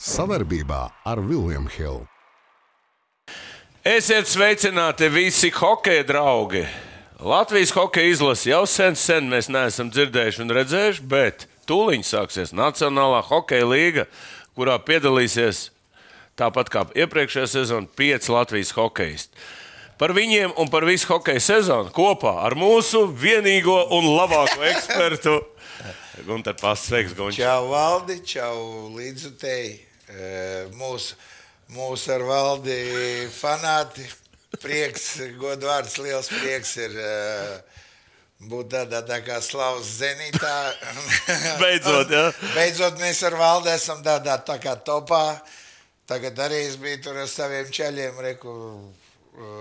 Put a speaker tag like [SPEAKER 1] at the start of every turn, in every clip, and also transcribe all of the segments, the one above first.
[SPEAKER 1] Savarbībā ar Vilniņu Hildu.
[SPEAKER 2] Esiet sveicināti visi hokeja draugi. Latvijas hokeja izlase jau sen, sen mēs neesam dzirdējuši un redzējuši, bet tūlīt sāksies Nacionālā hokeja līga, kurā piedalīsies tāpat kā iepriekšējā sezonā pieci Latvijas hokeisti. Par viņiem un par visu hokeja sezonu kopā ar mūsu vienīgo un labāko ekspertu Gunteru Pasveiks Gunču.
[SPEAKER 3] Čau, Valdi, čau, līdzutēji. E, Mūsu mūs ar Valdi fanāti. Prieks, godvārds, liels prieks ir e, būt tādā tā kā slavas zenītā.
[SPEAKER 2] Beidzot, jā.
[SPEAKER 3] Beidzot, mēs ar Valdi esam tādā tā kā topā. Tagad arī es biju tur ar saviem ceļiem, reku. e,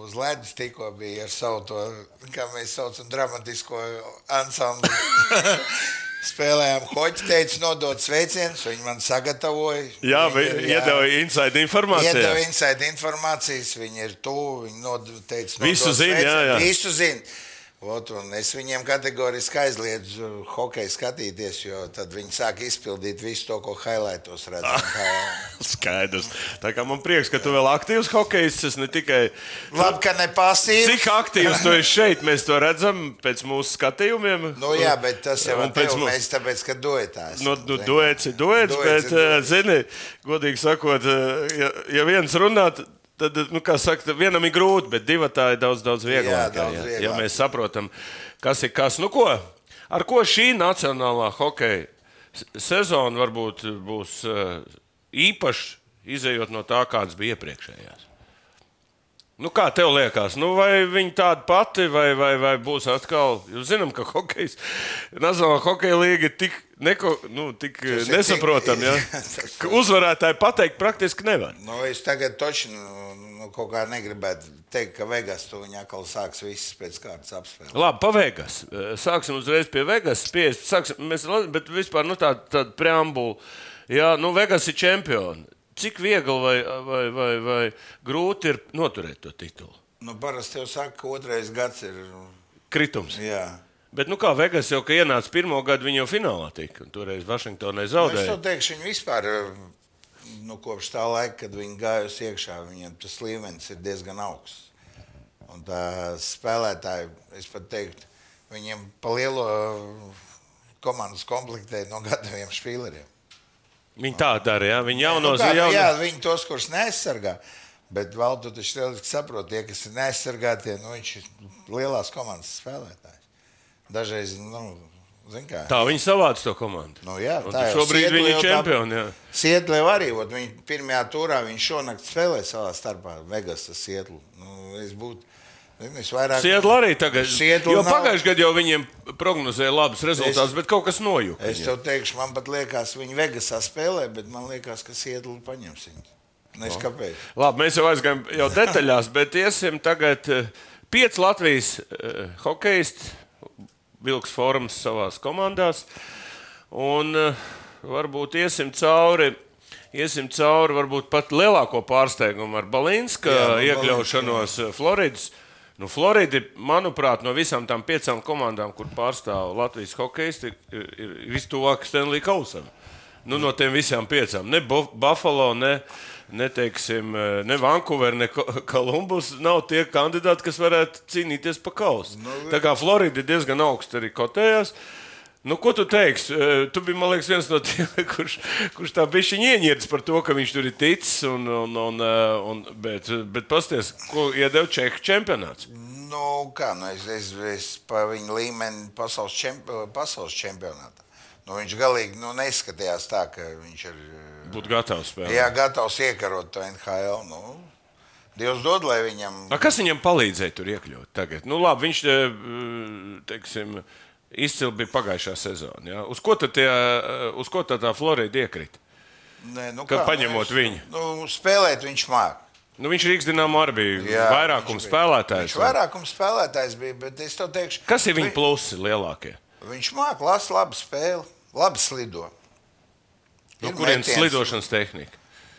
[SPEAKER 3] Uz ledus tikko bija ar savu to, kā mēs saucam, dramatisko ansambli. Spēlējām hoci, teicu, nodot sveicienus. Viņi man sagatavoja.
[SPEAKER 2] Jā,
[SPEAKER 3] Viņi ir, jā,
[SPEAKER 2] iedeva inside informāciju.
[SPEAKER 3] Iedeva inside informācijas, viņi ir tuvu, viņi nod- teica, nodod
[SPEAKER 2] Visu zina, jā,
[SPEAKER 3] sveicienus,
[SPEAKER 2] jā.
[SPEAKER 3] Visu zina. Ot, un es viņiem kategoriski aizliedzu hokeju skatīties, jo tad viņi sāk izpildīt visu to, ko highlightos redzam. Kā-
[SPEAKER 2] Skaidrs. Tā kā man prieks, ka tu vēl aktīvs hokejists, es ne tikai.
[SPEAKER 3] Labi, ka ne pasīvi.
[SPEAKER 2] Cik aktīvs tu esi šeit? Mēs to redzam pēc mūsu skatījumiem.
[SPEAKER 3] Nu, jā, bet tas jau
[SPEAKER 2] Un
[SPEAKER 3] ir
[SPEAKER 2] pēc
[SPEAKER 3] pēc
[SPEAKER 2] mu-
[SPEAKER 3] mums. Mēs tāpēc, ka duetās.
[SPEAKER 2] Nu, nu, duets ir duets,
[SPEAKER 3] Duets
[SPEAKER 2] bet,
[SPEAKER 3] ir duets.
[SPEAKER 2] eh, zini, godīgi sakot, eh, ja, ja viens runā, t- tad, eh, nu, kā saka, tad vienam ir grūti, bet divi tā ir daudz, daudz vieglāk.
[SPEAKER 3] Jā, daudz
[SPEAKER 2] ja, ja
[SPEAKER 3] vieglāk.
[SPEAKER 2] mēs saprotam, kas ir kas. Nu, ko, ar ko šī nacionālā hokeja s- sezona varbūt būs eh, īpaša, izējot no tā, kādas bija iepriekšējās? Nu, kā tev liekas, nu, vai viņa tāda pati, vai, vai, vai būs atkal? Jūs zinām, ka hokejs, Nacionālā hokeja līnija ir tik, neko, nu, tik
[SPEAKER 3] Tas ir
[SPEAKER 2] nesaprotama.
[SPEAKER 3] tik-
[SPEAKER 2] Ja?
[SPEAKER 3] Tas-
[SPEAKER 2] Ka Uzvarētāji pateikt, praktiski nevar.
[SPEAKER 3] Nu, es tagad točinu, nu, kaut kā negribētu teikt, ka Vegas to viņa atkal sāks visas pēc kārtas apspēlēt.
[SPEAKER 2] Labi, pa Vegas. Eh, Sāksim uzreiz pie Vegas. Spiest, sāksim, mēs, la- bet vispār nu, tāda tā preambula. Jā, nu, Vegas ir čempioni. Cik viegli vai, vai, vai, vai grūti ir noturēt to titulu?
[SPEAKER 3] Nu, parasti jau saka, ka otrais gads ir.
[SPEAKER 2] Kritums.
[SPEAKER 3] Jā,
[SPEAKER 2] Bet, nu, kā Vegas jau ka ienāca pirmo gadu, viņi jau finālā tika. un Toreiz Vašingtonai
[SPEAKER 3] nu, es
[SPEAKER 2] zaudēja.
[SPEAKER 3] to teikšu, viņi vispār, nu, kopš tā laika, kad viņi gāja uz iekšā, viņiem tas līmenis ir diezgan augsts. Un tā spēlētāji, es pat teiktu, viņiem pa lielo eh, komandas komplektē no gataviem spīleriem.
[SPEAKER 2] Viņi tā dara, jā. Viņi jau no
[SPEAKER 3] Nu, kā,
[SPEAKER 2] zila.
[SPEAKER 3] jā, viņi tos, kurus neaizsargā. Bet vēl tu taču reāli saproti, tie, kas ir neaizsargāti, nu, viņš ir lielās komandas spēlētājs. Dažreiz, nu, zin kā.
[SPEAKER 2] Tā viņi savāca to komandu.
[SPEAKER 3] Nu, jā,
[SPEAKER 2] Un
[SPEAKER 3] tā jau
[SPEAKER 2] šobrīd
[SPEAKER 3] Sietla
[SPEAKER 2] viņi
[SPEAKER 3] jau
[SPEAKER 2] ir
[SPEAKER 3] tā-
[SPEAKER 2] čempioni. jā.
[SPEAKER 3] Sietlēva arī, ot, viņa pirmajā turā viņš šonakt spēlē savā starpā Vegasas sietlu. Nu, es būtu, zini, es vairāk.
[SPEAKER 2] Sietla arī tagad.
[SPEAKER 3] Sietla
[SPEAKER 2] Jo
[SPEAKER 3] nav-
[SPEAKER 2] pagājušajā gadā jau viņiem prognozēja labus rezultātus,
[SPEAKER 3] Es-
[SPEAKER 2] bet kaut kas nojuka.
[SPEAKER 3] Es
[SPEAKER 2] viņiem.
[SPEAKER 3] tev teikšu, man pat liekas, viņi Vegasā spēlē, bet man liekas, ka sietlu paņems viņu.
[SPEAKER 2] Nu.
[SPEAKER 3] Nes kāpēc.
[SPEAKER 2] Labi, mēs jau aizgājām jau detaļās, bet iesim tagad eh, pieci Latvijas uh, hokeisti vilks formas savās komandās. Un uh, varbūt iesim cauri. Iesim cauri varbūt pat lielāko pārsteigumu ar Balīnska
[SPEAKER 3] Jā, nu,
[SPEAKER 2] iekļaušanos eh, Floridas. Nu, Florida, manuprāt, no visām tām piecām komandām, kur pārstāv Latvijas hokeisti, ir, ir vistuvāk Stanley Kausam. Nu, no tiem visām piecām. Ne Bo- Buffalo, ne, ne, teiksim, eh, ne Vancouver, ne Ko- Columbus nav tie kandidāti, kas varētu cīnīties par kausu. Nu, Tā kā Florida diezgan augstu arī kotējās. Nu, ko tu teiksi? Eh, Tu biji, man liekas, viens no tiem, kurš, kurš tā bija ieņēmis par to, ka viņš tur ir ticis. Un, un, un, eh, un, bet, bet pasties, ko iedeva Čehu čempionāts?
[SPEAKER 3] Nu, kā, nu es, es, es pa viņu līmeni pasaules, čemp, pasaules čempionātā. Nu, viņš galīgi nu, neizskatījās tā, ka viņš ir
[SPEAKER 2] Būtu gatavs
[SPEAKER 3] eh,
[SPEAKER 2] spēlēt.
[SPEAKER 3] jā, gatavs iekarot to NHL. Nu. Dievs dod, lai viņam
[SPEAKER 2] A, kas viņam palīdzēja tur iekļūt? Tagad? Nu, labi, viņš eh, teiksim, izcili bija pagājušā sezonā. Ja? Uz ko tad, tie, eh, uz ko tad tā Florida iekrita?
[SPEAKER 3] Nē, nu,
[SPEAKER 2] Kad
[SPEAKER 3] kā, nu,
[SPEAKER 2] paņemot
[SPEAKER 3] es-
[SPEAKER 2] viņu.
[SPEAKER 3] Nu, spēlēt viņš māca.
[SPEAKER 2] Nu, viņš Rīgas dīnāmā arī bija vairākums spēlētājs.
[SPEAKER 3] Viņš vairākums spēlētājs bija, bet es tev teikšu,
[SPEAKER 2] Kas ir viņa
[SPEAKER 3] vi-
[SPEAKER 2] plusi lielākie?
[SPEAKER 3] Viņš māca, lasa labu spēli, labi slido.
[SPEAKER 2] No
[SPEAKER 3] Ir
[SPEAKER 2] kurienes
[SPEAKER 3] Nu, metiens.
[SPEAKER 2] Nu, slidošanas tehnika?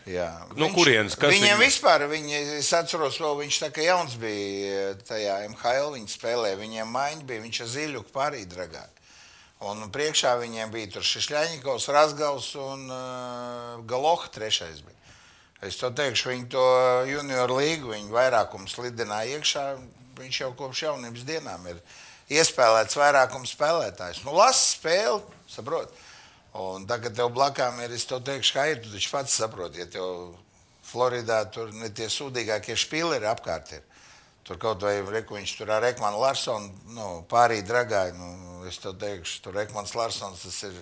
[SPEAKER 3] Jā.
[SPEAKER 2] No Nu, kurienes? Kas
[SPEAKER 3] viņam
[SPEAKER 2] viņu-
[SPEAKER 3] viņa? vispār, viņa, es atceros, vēl viņš tā kā jauns bija eh, tajā MHL, viņa spēlēja, viņiem maiņa bija, viņš ar Ziļuku pārī dragāk. Un priekšā viņiem bija tur Šišļaņikovs, Rasgaus un uh, Galoha trešais bija. Es to teikšu, viņi to junior līgu, viņi vairākums lidināja iekšā. Viņš jau kopš jaunības dienām ir iespēlēts vairākums spēlētājs. Nu, lasu spēli, saprot. Un tagad tev blakām ir, es to teikšu, ka ir, tu taču pats saproti, ja tev Floridā tur ne tie sūdīgākie špīli ir apkārt. Ir. Tur kaut vai reku, viņš tur ar Rekmanu Larsonu nu, pārī dragāja. Nu, es to teikšu, tur Rekmans Larsons tas ir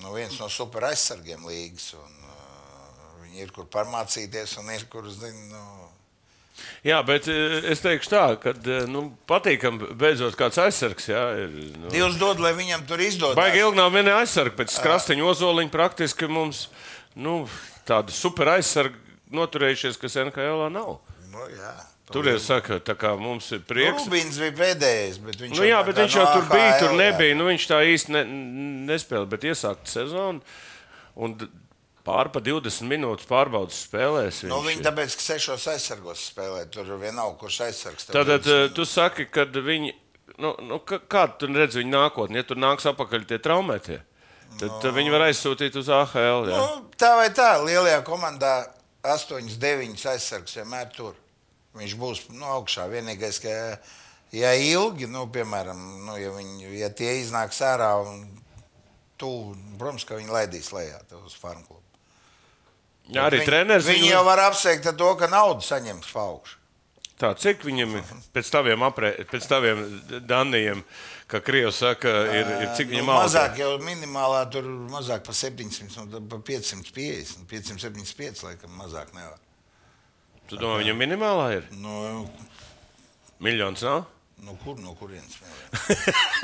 [SPEAKER 3] nu, viens no super aizsargiem līgas. Un, uh, viņi ir kur pamācīties un ir kur, zinu, nu,
[SPEAKER 2] Jā, bet e, es teikšu tā, ka nu, patīkami beidzot kāds aizsargs. Jā, ir, nu,
[SPEAKER 3] Dievs dod, lai viņam tur izdodas.
[SPEAKER 2] baigi ilgi nav viena aizsarga, pēc krasteņa ozoliņa praktiski mums nu, tāda super aizsarga noturējušies, kas NHL -ā nav.
[SPEAKER 3] Nu, jā.
[SPEAKER 2] Tur ir saka, tā kā mums ir prieks.
[SPEAKER 3] Rubīns bija pēdējais, bet viņš,
[SPEAKER 2] Nu, jā,
[SPEAKER 3] tā
[SPEAKER 2] bet
[SPEAKER 3] kā
[SPEAKER 2] viņš
[SPEAKER 3] no
[SPEAKER 2] jau tur bija, tur
[SPEAKER 3] AHL, jā.
[SPEAKER 2] nebija. Nu, viņš tā īsti ne, nespēlēja, bet iesākt sezonu. Un d- pārpa 20 minūtes pārbaudas spēlēs.
[SPEAKER 3] Nu,
[SPEAKER 2] Viņš,
[SPEAKER 3] viņi tāpēc, ka sešos aizsargos spēlē, tur vienalga, kurš aizsargs. tev
[SPEAKER 2] Tātad
[SPEAKER 3] būs.
[SPEAKER 2] eh, tu saki, ka viņi, nu, nu, ka- kāda tur redz viņa nākotne, ja tur nāks apakaļ tie traumētie, tad, tad viņi var aizsūtīt uz AHL. Jā.
[SPEAKER 3] Nu, tā vai tā, lielajā komandā 8, 9 aizsargs vienmēr tur. Viņš būs nu, augšā. Vienīgais, ka, ja ilgi, nu, piemēram, nu, ja, viņi, ja tie iznāks ārā un tu, protams, ka viņi laidīs lejā tev uz farmu klubu.
[SPEAKER 2] Jā, arī
[SPEAKER 3] Viņi-
[SPEAKER 2] treneris
[SPEAKER 3] Viņi
[SPEAKER 2] viņu-
[SPEAKER 3] jau var apsveikt ar to, ka naudu saņems pa augšu.
[SPEAKER 2] Tā, cik viņam ir pēc taviem, aprē, pēc taviem daniem, ka Krievs saka, ir, ir cik viņam
[SPEAKER 3] nu,
[SPEAKER 2] alga?
[SPEAKER 3] mazāk, jau minimālā tur mazāk par 700, nu, par 550, 575, laikam, mazāk nevar.
[SPEAKER 2] Tu domā, viņam minimālā ir?
[SPEAKER 3] Nu,
[SPEAKER 2] Miljons nav?
[SPEAKER 3] nu kur, no kurienes? smēlē?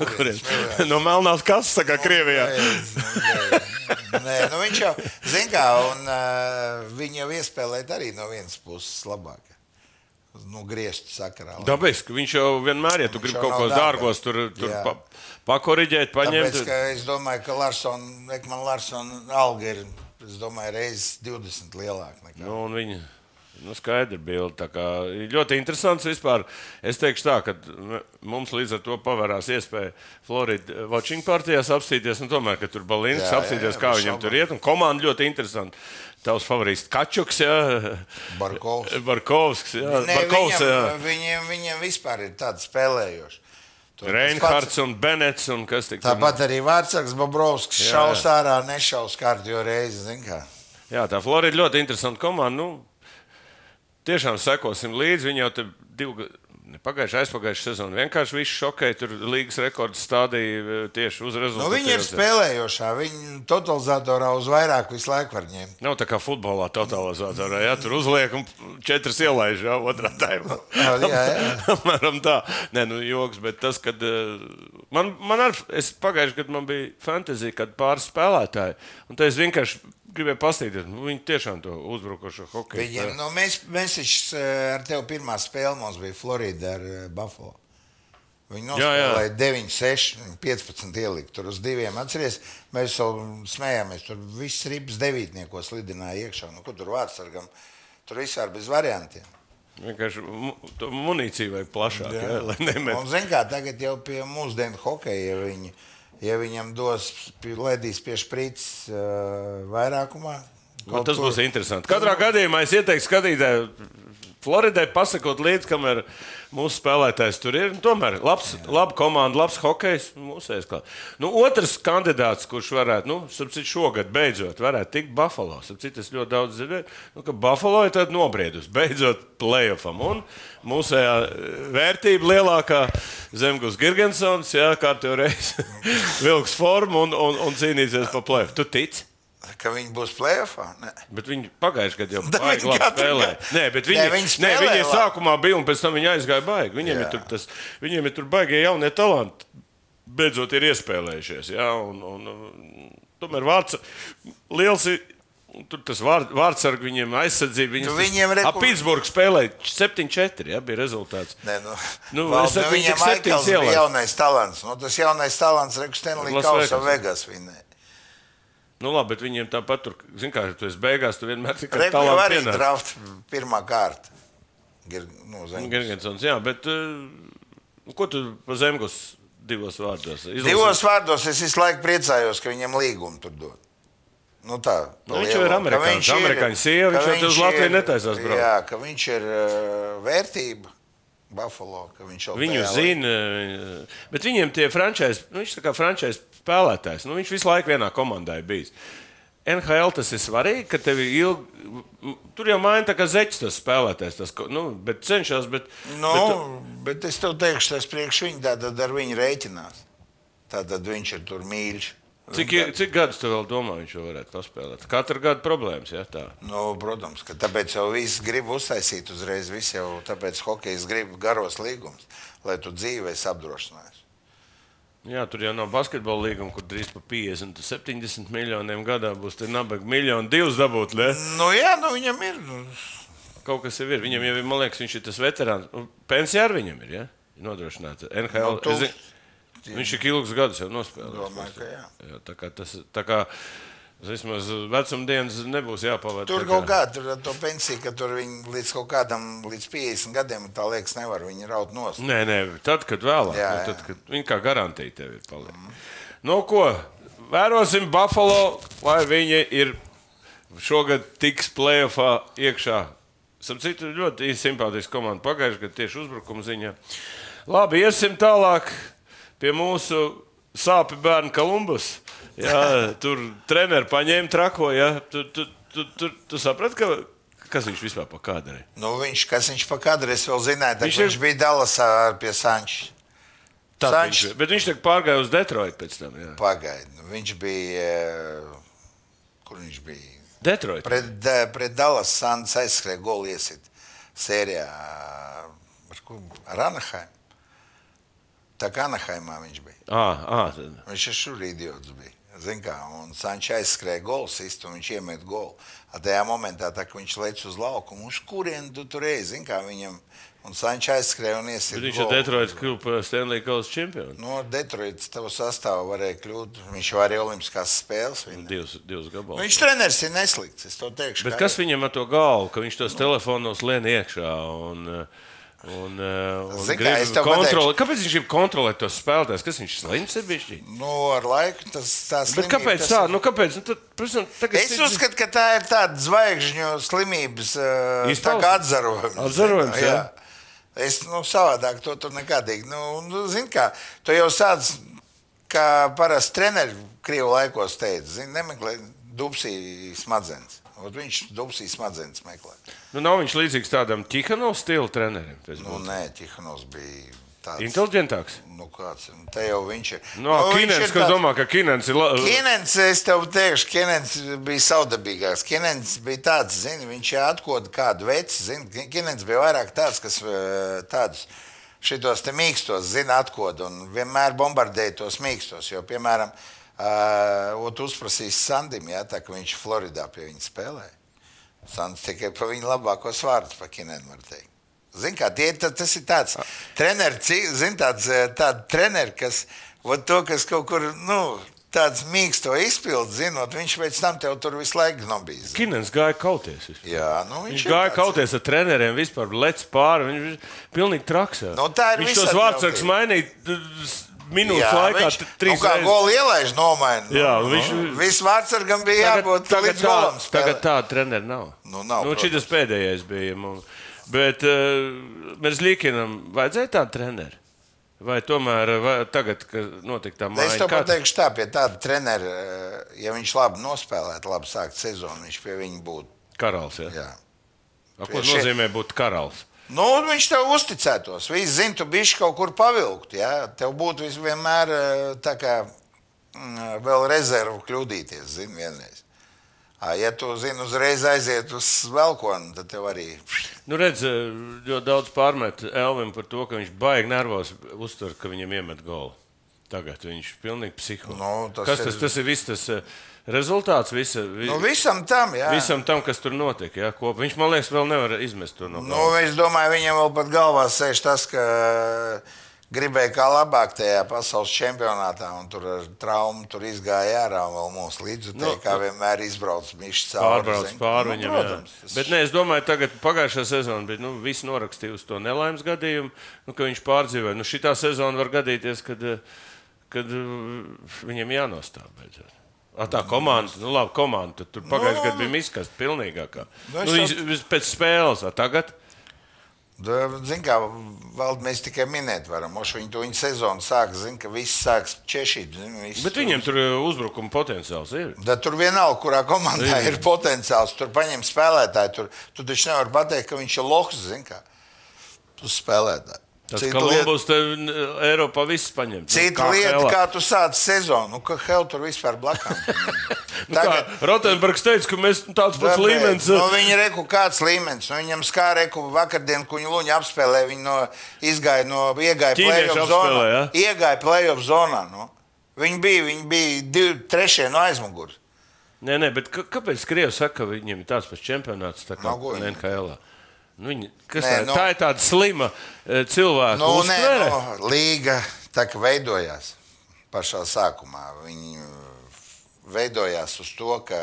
[SPEAKER 2] No kurienes?
[SPEAKER 3] smēlē?
[SPEAKER 2] No melnās kases, kā Krievijā.
[SPEAKER 3] Nē, nē, Nē, nu viņš jau, zin kā, un uh, viņi jau iespēlēt arī no vienas puses labāk. Nu, griestu sakarā. lai-
[SPEAKER 2] Dabiski, ka viņš jau vienmēr, ja tu
[SPEAKER 3] Viņš
[SPEAKER 2] gribi
[SPEAKER 3] jau
[SPEAKER 2] kaut
[SPEAKER 3] nav
[SPEAKER 2] ko
[SPEAKER 3] dārga.
[SPEAKER 2] dārgos, tur, tur
[SPEAKER 3] Jā.
[SPEAKER 2] pa, pakoriģēt, paņemt.
[SPEAKER 3] Tāpēc, ka es domāju, ka Larsona, Ekmana Larsona alga ir, es domāju, reizes 20 lielāka nekā.
[SPEAKER 2] Nu, un viņa nu, skaidra bilde. tā kā ir Ļoti interesants vispār. Es teikšu tā, ka m- mums līdz ar to pavērās iespēja Floridas Watching partijās apstīties. un Tomēr, kad tur Balīns
[SPEAKER 3] Jā, jā,
[SPEAKER 2] apstīties,
[SPEAKER 3] jā,
[SPEAKER 2] kā
[SPEAKER 3] bez
[SPEAKER 2] viņam
[SPEAKER 3] šaubām.
[SPEAKER 2] tur iet. un Komanda ļoti interesanta. Tavs favorīts Kačuks, jā.
[SPEAKER 3] Barkovs.
[SPEAKER 2] Barkovs, jā.
[SPEAKER 3] Ne,
[SPEAKER 2] Barkovs, jā.
[SPEAKER 3] viņam, eh, viņiem, viņiem vispār ir tāds spēlējošs. To tas
[SPEAKER 2] Reinhards
[SPEAKER 3] pats-
[SPEAKER 2] un Benets un kas tik tur-
[SPEAKER 3] Tāpat arī Vārtsargs Bobrovskis
[SPEAKER 2] Jā,
[SPEAKER 3] šaus ārā, nešaus kārtīgi reizi. zini kā.
[SPEAKER 2] Jā, tā Florida ļoti interesanta komanda. Nu, tiešām sekosim līdzi. Viņi jau tur divu gadu. Pagājušā, aizpagājušā sezonā vienkārši viss šokēja. Tur līgas rekords stādīja e, tieši uz
[SPEAKER 3] Nu,
[SPEAKER 2] rezultātu.
[SPEAKER 3] viņi ir spēlējošā, viņi totalizatorā uz vairāk visu laiku var ņemt.
[SPEAKER 2] Nav tā kā futbolā, totalizatorā. Jā, tur uzliek un četras ielaiž jau otrā daļā.
[SPEAKER 3] Jā, jā,
[SPEAKER 2] Apmēram tā. Nē, nu, joks, bet tas, kad. eh, Man, man ar, es pagājušajā gadā man bija fantāzija, kad pāris spēlētāji. Un tā es vienkārši gribēju pastīties. Nu, viņi tiešām to uzbrukošo hokeju.
[SPEAKER 3] Viņiem, nu, mēs, mēs taču, eh, ar tevi pirmā spēle mums bija Florida ar eh, Buffalo. Viņi
[SPEAKER 2] Jā, jā.
[SPEAKER 3] nospēlēja 9, 6, 15 ielikt tur uz diviem. Atceries, mēs jau smējāmies, tur viss rips devītniekos lidināja iekšā. Nu, kur tur vārdsargam? Tur vispār bez variantiem.
[SPEAKER 2] Vienkārši mu- to munīciju vajag plašāk, jā. Jā, lai
[SPEAKER 3] Un,
[SPEAKER 2] nemet.
[SPEAKER 3] zin kā, tagad jau pie mūsdienu hokeja, ja, viņi, ja viņam dos, pie- ledīs pie šprīts uh, vairākumā.
[SPEAKER 2] Un
[SPEAKER 3] kaut
[SPEAKER 2] Nu, tas
[SPEAKER 3] kur.
[SPEAKER 2] būs interesanti. Katrā gadījumā es ieteiktu skatītājiem. Floridai pasakot līdzi, kamēr mūsu spēlētājs tur ir. Un Tomēr labs, laba komanda, labs hokejs. Mūsu aizklāt. Nu, otrs kandidāts, kurš varētu, nu, sapcīt, šogad beidzot varētu tikt Buffalo. Sapcīt, es ļoti daudz dzirdēju, nu, ka Buffalo ir tāda nobriedusi, beidzot playoffam. Un mūsējā vērtība lielākā Zemgus Girgensons, jā, kārtējo reizi vilks formu un, un, un cīnīsies par playoff. Tu tici?
[SPEAKER 3] Ka viņi būs plēfā? Nē.
[SPEAKER 2] Bet viņi pagājušajā gadā jau
[SPEAKER 3] Da,
[SPEAKER 2] baigi
[SPEAKER 3] viņi
[SPEAKER 2] labi
[SPEAKER 3] katru
[SPEAKER 2] spēlēja.
[SPEAKER 3] gadu-
[SPEAKER 2] Nē, bet viņi,
[SPEAKER 3] Nē, viņi
[SPEAKER 2] nē,
[SPEAKER 3] spēlē
[SPEAKER 2] viņi
[SPEAKER 3] labi.
[SPEAKER 2] sākumā bija un pēc tam viņi aizgāja baigi. Viņiem, ir
[SPEAKER 3] Jā.
[SPEAKER 2] tur, tas, viņiem ir tur baigie jaunie talanti. Beidzot, ir iespēlējušies. Jā, un, un, un, tomēr vārds liels. ir- Tur tas vārdsargs viņiem aizsardzība.
[SPEAKER 3] Tu
[SPEAKER 2] Viņam
[SPEAKER 3] Nu, viņiem reku-
[SPEAKER 2] Ap Pitsburgā spēlēja 7-4. Jā, bija rezultāts.
[SPEAKER 3] Nē, nu,
[SPEAKER 2] Nu,
[SPEAKER 3] nu,
[SPEAKER 2] es
[SPEAKER 3] valdi,
[SPEAKER 2] saku,
[SPEAKER 3] nu,
[SPEAKER 2] viņi
[SPEAKER 3] viņam
[SPEAKER 2] tik septiņas
[SPEAKER 3] Maikls bija
[SPEAKER 2] ielaida.
[SPEAKER 3] jaunais talants. Nu, tas jaunais talants, Reku Stenlija
[SPEAKER 2] Las
[SPEAKER 3] Kausa
[SPEAKER 2] Vegas.
[SPEAKER 3] Vegas vinnēja.
[SPEAKER 2] Nu, labi, bet viņiem tāpat tur, zināmā mērā, tu esi beigās, tu vienmēr tikai
[SPEAKER 3] Reku jau arī
[SPEAKER 2] pienāc.
[SPEAKER 3] draft pirmā kārta. Gir, nu, zem-
[SPEAKER 2] Gergensons, jā, bet eh, ko tu pa zemgus divos vārdos? Izlasi.
[SPEAKER 3] Divos vārdos es visu laiku priecājos, ka viņam līgumu tur dod. Nu, Nu tā,
[SPEAKER 2] Nu, viņš jau ir
[SPEAKER 3] lielo, ka
[SPEAKER 2] amerikānis,
[SPEAKER 3] viņš ir-
[SPEAKER 2] amerikāņu sieva,
[SPEAKER 3] ka
[SPEAKER 2] viņš jau te uz
[SPEAKER 3] viņš
[SPEAKER 2] Latviju
[SPEAKER 3] ir-
[SPEAKER 2] netaisās braukt.
[SPEAKER 3] Jā, ka viņš ir uh, vērtība Buffalo. ka Viņš jau
[SPEAKER 2] Viņu
[SPEAKER 3] tajā lai-
[SPEAKER 2] zina, eh, bet viņiem tie frančēs, nu, viņš ir kā frančēs spēlētājs. Nu, viņš visu laiku vienā komandā ir bijis. NHL tas ir svarīgi, ka tev ir ilgi. Tur jau maina tā kā zeķis tas spēlētājs, tas, ko- nu, bet cenšas. Bet, bet,
[SPEAKER 3] Nu, bet, bet es tev teikšu, tas priekš viņa, tad ar viņu rēķinās. Tad viņš ir tur mīļš.
[SPEAKER 2] Cik, i- cik gadus tu vēl domā, viņš vēl varētu paspēlēt? Katru gadu problēmas, ja tā.
[SPEAKER 3] Nu, protams, ka tāpēc jau viss grib uztaisīt uzreiz. Viss jau tāpēc hokejs grib garos līgumus, lai tu dzīvēs apdrošinājies.
[SPEAKER 2] Jā, tur jau nav basketbola līguma, kur drīz pa 50, 70 miljoniem gadā būs tie nabaga miljoni, divus dabūt. Ne?
[SPEAKER 3] Nu, jā, nu viņam ir. Nu,
[SPEAKER 2] Kaut kas jau ir. Viņam jau ir, man liekas, viņš ir tas veterāns. Un Pensija ar viņam ir, ja? Nodrošināta. NHL.
[SPEAKER 3] Nu, tu-
[SPEAKER 2] es zinu, Viņš ir ilgus gadus jau nospēlējis.
[SPEAKER 3] Domāju, ka jā.
[SPEAKER 2] jā, tā kā tas tā kā, vismaz vecumdienas nebūs jāpavada.
[SPEAKER 3] Tur
[SPEAKER 2] tā
[SPEAKER 3] kaut kā tur ar to pensiju, ka tur viņi līdz kaut kādam, līdz 50 gadiem, tā liekas, nevar viņu raut no savas.
[SPEAKER 2] Nē, nē, tad, kad vēlāk.
[SPEAKER 3] Jā,
[SPEAKER 2] nu,
[SPEAKER 3] jā.
[SPEAKER 2] Tad, kad viņa kā garantija tev ir palikusi. Mm. Nu, ko? Vērosim Buffalo, lai viņi ir šogad tiks plēsoņā iekšā. Sapratu, ļoti simpātiski komanda pagājušajā gadā tieši uzbrukuma ziņā. Labi, iesim tālāk pie mūsu sāpju bērna Kolumbus. Jā, tur treniņš paņēma trako. Jā, tu, tu, tu, tu, tu saprati, ka, kas viņš vispār par kādu ir?
[SPEAKER 3] Nu, viņš, kas viņš pa kadru, es vēl zināju,
[SPEAKER 2] Viņš
[SPEAKER 3] tā, viņš,
[SPEAKER 2] ir-
[SPEAKER 3] viņš bija Dallasā ar- pie Sančes.
[SPEAKER 2] Tad
[SPEAKER 3] Sančes
[SPEAKER 2] viņš- Bet viņš tagad pārgāja uz Detroitu pēc tam. Jā.
[SPEAKER 3] pagaida. nu, Viņš bija, eh, kur viņš bija?
[SPEAKER 2] Detroit.
[SPEAKER 3] Pret, eh, pret Dallas Sančes aizskrēja goli iesit sērijā eh, ar, ko- ar Anahaimu. Tā kā Anahaimā viņš bija.
[SPEAKER 2] Ah, ah, tad.
[SPEAKER 3] Viņš ir šur idiots bija. Zin Kā, un Sančs aizskrēja gols, īstu, un viņš iemet golu. A Tajā momentā, tā, kad viņš lec uz laukumu, uz kurien tu tur ej? Zin Kā, viņam, un Sančs aizskrēja un
[SPEAKER 2] Bet
[SPEAKER 3] iesaistīja.
[SPEAKER 2] viņš jau Detroitā kļuva par Stanley Kausa čempionu.
[SPEAKER 3] No Detroitas tev sastāvā varēja kļūt. Viņš jau arī Olimpiskās spēles.
[SPEAKER 2] Nu,
[SPEAKER 3] vinēja.
[SPEAKER 2] Divas, divas gabalus.
[SPEAKER 3] Viņš treneris ir neslikts, es to teikšu.
[SPEAKER 2] Bet
[SPEAKER 3] kā
[SPEAKER 2] kas
[SPEAKER 3] ir.
[SPEAKER 2] viņam ar to galvu, ka viņš tos telefonos lien iekšā un, uh, un, uh, un
[SPEAKER 3] Zini kā,
[SPEAKER 2] grib
[SPEAKER 3] es tev
[SPEAKER 2] kontrolēt? Kāpēc viņš grib kontrolēt tos spēlētājus? Kas viņš slims ir bijis?
[SPEAKER 3] Nu, ar laiku tas tas
[SPEAKER 2] Bet kāpēc tā? Nu, kāpēc? Nu, tad, prasam, tagad,
[SPEAKER 3] Es uzskatu, ka tā ir tāda zvaigžņu slimības eh, tā
[SPEAKER 2] Izpausme?
[SPEAKER 3] kā atzarojums.
[SPEAKER 2] Atzarojums,
[SPEAKER 3] Zini,
[SPEAKER 2] jā.
[SPEAKER 3] Es nu, savādāk to tur nekādīgi. Nu, nu, zini, kā tu jau sāc, kā parasti treneri krievu laikos teica, zini, nemeklē dubsī smadzenes. Ot viņš dubsī smadzenes meklē.
[SPEAKER 2] nu, nav viņš līdzīgs tādam Tikano stila trenerim. pēc
[SPEAKER 3] Nu,
[SPEAKER 2] būtības?
[SPEAKER 3] nē, Tihanovs bija tāds.
[SPEAKER 2] Inteliģentāks.
[SPEAKER 3] Nu, kāds, nu, te jau viņš ir.
[SPEAKER 2] No, nu,
[SPEAKER 3] viņš
[SPEAKER 2] Kinens,
[SPEAKER 3] ir
[SPEAKER 2] kas
[SPEAKER 3] tāds-
[SPEAKER 2] domā, ka Kinens ir la...
[SPEAKER 3] Kenens, es tev teikšu, Kenens bija savdabīgāks. Kenens bija tāds, zini, viņš atkoda kādu veci, zini, Kenens bija vairāk tāds, kas eh, tādus šitos te mīkstos, zini, atkoda un vienmēr bombardēja tos mīkstos, jo, piemēram, uh, uzprasīs Sandim, jā, tā, ka viņš Floridā pie viņa spēlēja. Sands tikai par viņu labākos vārdus par Kenenu var teikt. Zini, kā tie ir, tā- tas ir tāds treneris, zini, tāds tād treneris, kas, vot to, kas kaut kur, nu, tāds mīksto izpildu, zinot, viņš pēc tam tev tur visu laiku nobijis.
[SPEAKER 2] Kinens gāja kauties. Vispār.
[SPEAKER 3] Jā, nu, viņš,
[SPEAKER 2] Viņš
[SPEAKER 3] ir
[SPEAKER 2] gāja
[SPEAKER 3] tāds.
[SPEAKER 2] kauties ar treneriem, vispār lec pāri. Viņš bija pilnīgi traks. jā.
[SPEAKER 3] Nu, tā ir
[SPEAKER 2] viņš tos
[SPEAKER 3] visādi
[SPEAKER 2] vārdsargs
[SPEAKER 3] jauki.
[SPEAKER 2] mainīja t- s- minūtes
[SPEAKER 3] Jā,
[SPEAKER 2] laikā.
[SPEAKER 3] viņš-
[SPEAKER 2] t- Trīs
[SPEAKER 3] nu, kā
[SPEAKER 2] reizes.
[SPEAKER 3] gola ielaiž nomaina. Nu,
[SPEAKER 2] Jā,
[SPEAKER 3] nu,
[SPEAKER 2] viņš-
[SPEAKER 3] viss vārdsargam bija
[SPEAKER 2] tagad,
[SPEAKER 3] jābūt tagad, līdz golam.
[SPEAKER 2] tā,
[SPEAKER 3] spēlē.
[SPEAKER 2] tagad tāda trenera nav.
[SPEAKER 3] Nu, nav,
[SPEAKER 2] nu, šis pēdējais bija. Mums. Bet uh, Merzlīkinam vajadzēja tādu treneru. Vai tomēr eh, vai, tagad, kad notika tā
[SPEAKER 3] Es to
[SPEAKER 2] māja, kā-
[SPEAKER 3] pateikšu tā, pie tāda trenera, eh, ja viņš labi nospēlētu, labi sākt sezonu, viņš pie viņa būtu.
[SPEAKER 2] karalis? Ja?
[SPEAKER 3] Jā.
[SPEAKER 2] A, Ko
[SPEAKER 3] Šie-
[SPEAKER 2] nozīmē būt karalis?
[SPEAKER 3] Nu, un viņš tev uzticētos. Viņš zina, tu biji kaut kur pavilkt. Ja? Tev būtu vis- vienmēr eh, tā kā mm, vēl rezervu kļūdīties. Zini, vienreiz. Ā, Ja tu zini, uzreiz aiziet uz velkonu, tad tev arī.
[SPEAKER 2] Nu, redz, eh, ļoti daudz pārmet Elvim par to, ka viņš baigi nervos uztver, ka viņam iemet golu. Tagad viņš ir pilnīgi psiholoģisks.
[SPEAKER 3] Nu, tas
[SPEAKER 2] kas
[SPEAKER 3] ir-
[SPEAKER 2] tas, tas ir viss tas eh, rezultāts visa, vi,
[SPEAKER 3] Nu,
[SPEAKER 2] nu,
[SPEAKER 3] visam tam, jā.
[SPEAKER 2] visam tam, kas tur notiek. Jā, kopā. viņš man liekas, vēl nevar izmest to no
[SPEAKER 3] Nu,
[SPEAKER 2] galvas.
[SPEAKER 3] es domāju, viņam vēl pat galvā sēž tas, ka eh, gribēja kā labāk tajā pasaules čempionātā, un tur ar traumu tur izgāja ārā un vēl mūsu līdzekļi,
[SPEAKER 2] Nu,
[SPEAKER 3] kā vienmēr izbrauc mišs cauri.
[SPEAKER 2] Pārbrauc
[SPEAKER 3] zini.
[SPEAKER 2] pāri viņam. jā.
[SPEAKER 3] Nu, protams, tas-
[SPEAKER 2] Bet nē, es domāju, tagad pagājušā sezona bija. Nu, Visi norakstīja uz to nelaimes gadījumu, nu, ka viņš pārdzīvoja. Nu, šitā sezona var gadīties, kad, eh, kad eh, viņam jānostāv. beidzot. A tā komanda, nu labi, komanda. Tur pagājušajā gadā bija izkasta pilnīgākā.
[SPEAKER 3] Nu,
[SPEAKER 2] Nu,
[SPEAKER 3] es
[SPEAKER 2] nu, iz- pēc spēles, a tagad.
[SPEAKER 3] Zinām, kā valda mēs tikai minēt varam. Moši Viņi to viņa sezonu sāk, zina, ka viss sāks češīt. zini, viss
[SPEAKER 2] Bet
[SPEAKER 3] tur-
[SPEAKER 2] viņiem tur uh, uzbrukuma potenciāls ir.
[SPEAKER 3] Da, tur vienalga, kurā komandā ir potenciāls, tur paņem spēlētāju. Tur, tu taču nevari pateikt, ka viņš ir lohs, zina, kā uz spēlētāju.
[SPEAKER 2] Tas
[SPEAKER 3] Cita lieta-
[SPEAKER 2] Kolumbus tev uh, Eiropā viss paņem. Nu,
[SPEAKER 3] Cita
[SPEAKER 2] kā
[SPEAKER 3] lieta,
[SPEAKER 2] Helā.
[SPEAKER 3] kā tu sāc sezonu, nu, ka Helga tur vispār blakus.
[SPEAKER 2] Nu, kā Rotenbergs teica, ka mēs nu, tāds pats līmenis. eh.
[SPEAKER 3] Nu, viņa reku kāds līmenis. Nu, viņam skā reku vakardien, kuņu luņa apspēlē, viņi no, izgāja no iegāja
[SPEAKER 2] Ķīnieši
[SPEAKER 3] play-off zonā.
[SPEAKER 2] apspēlē,
[SPEAKER 3] Iegāja play-off zonā. Nu. Viņi bija, viņi bija divi, trešie no aizmugures.
[SPEAKER 2] Nē, nē, bet kā- kāpēc Krievija saka, ka viņiem ir tāds pats čempionāts tā kā
[SPEAKER 3] Nu, ko viņi-
[SPEAKER 2] NHL? Nu, viņi, kas nē,
[SPEAKER 3] Nē,
[SPEAKER 2] tā,
[SPEAKER 3] nu-
[SPEAKER 2] nu, tā ir tāda slima eh, cilvēka
[SPEAKER 3] Nu, nē,
[SPEAKER 2] uztvere.
[SPEAKER 3] nu, līga tā kā veidojās pašā sākumā. Viņi uh, veidojās uz to, ka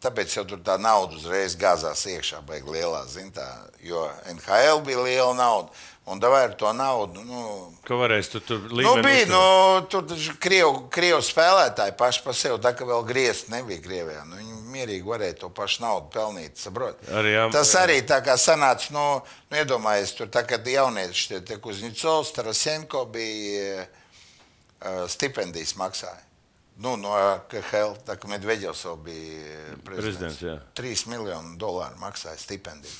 [SPEAKER 3] tāpēc jau tur tā nauda uzreiz gāzās iekšā, baigi lielā zintā, jo NHL bija liela nauda. Un davai ar to naudu. Nu,
[SPEAKER 2] Ka varēs tu tur
[SPEAKER 3] Nu,
[SPEAKER 2] līmenī.
[SPEAKER 3] bija,
[SPEAKER 2] uzturēt.
[SPEAKER 3] nu, tur taču krievu, krievu spēlētāji paši par sevi, tā kā vēl griezt nebija Krievijā. Nu, viņi mierīgi varēja to pašu naudu pelnīt, saprot?
[SPEAKER 2] Arī, jā.
[SPEAKER 3] Tas arī tā kā sanāca, nu, nu iedomājies, tur tā kā jaunieši, tie tiek uzņicovs, Tarasenko bija uh, stipendijas maksāja. Nu, no KHL, tā kā Medveģevs vēl bija
[SPEAKER 2] Prezidents,
[SPEAKER 3] prezidents.
[SPEAKER 2] jā.
[SPEAKER 3] 3 miljonu dolāru maksāja stipendiju.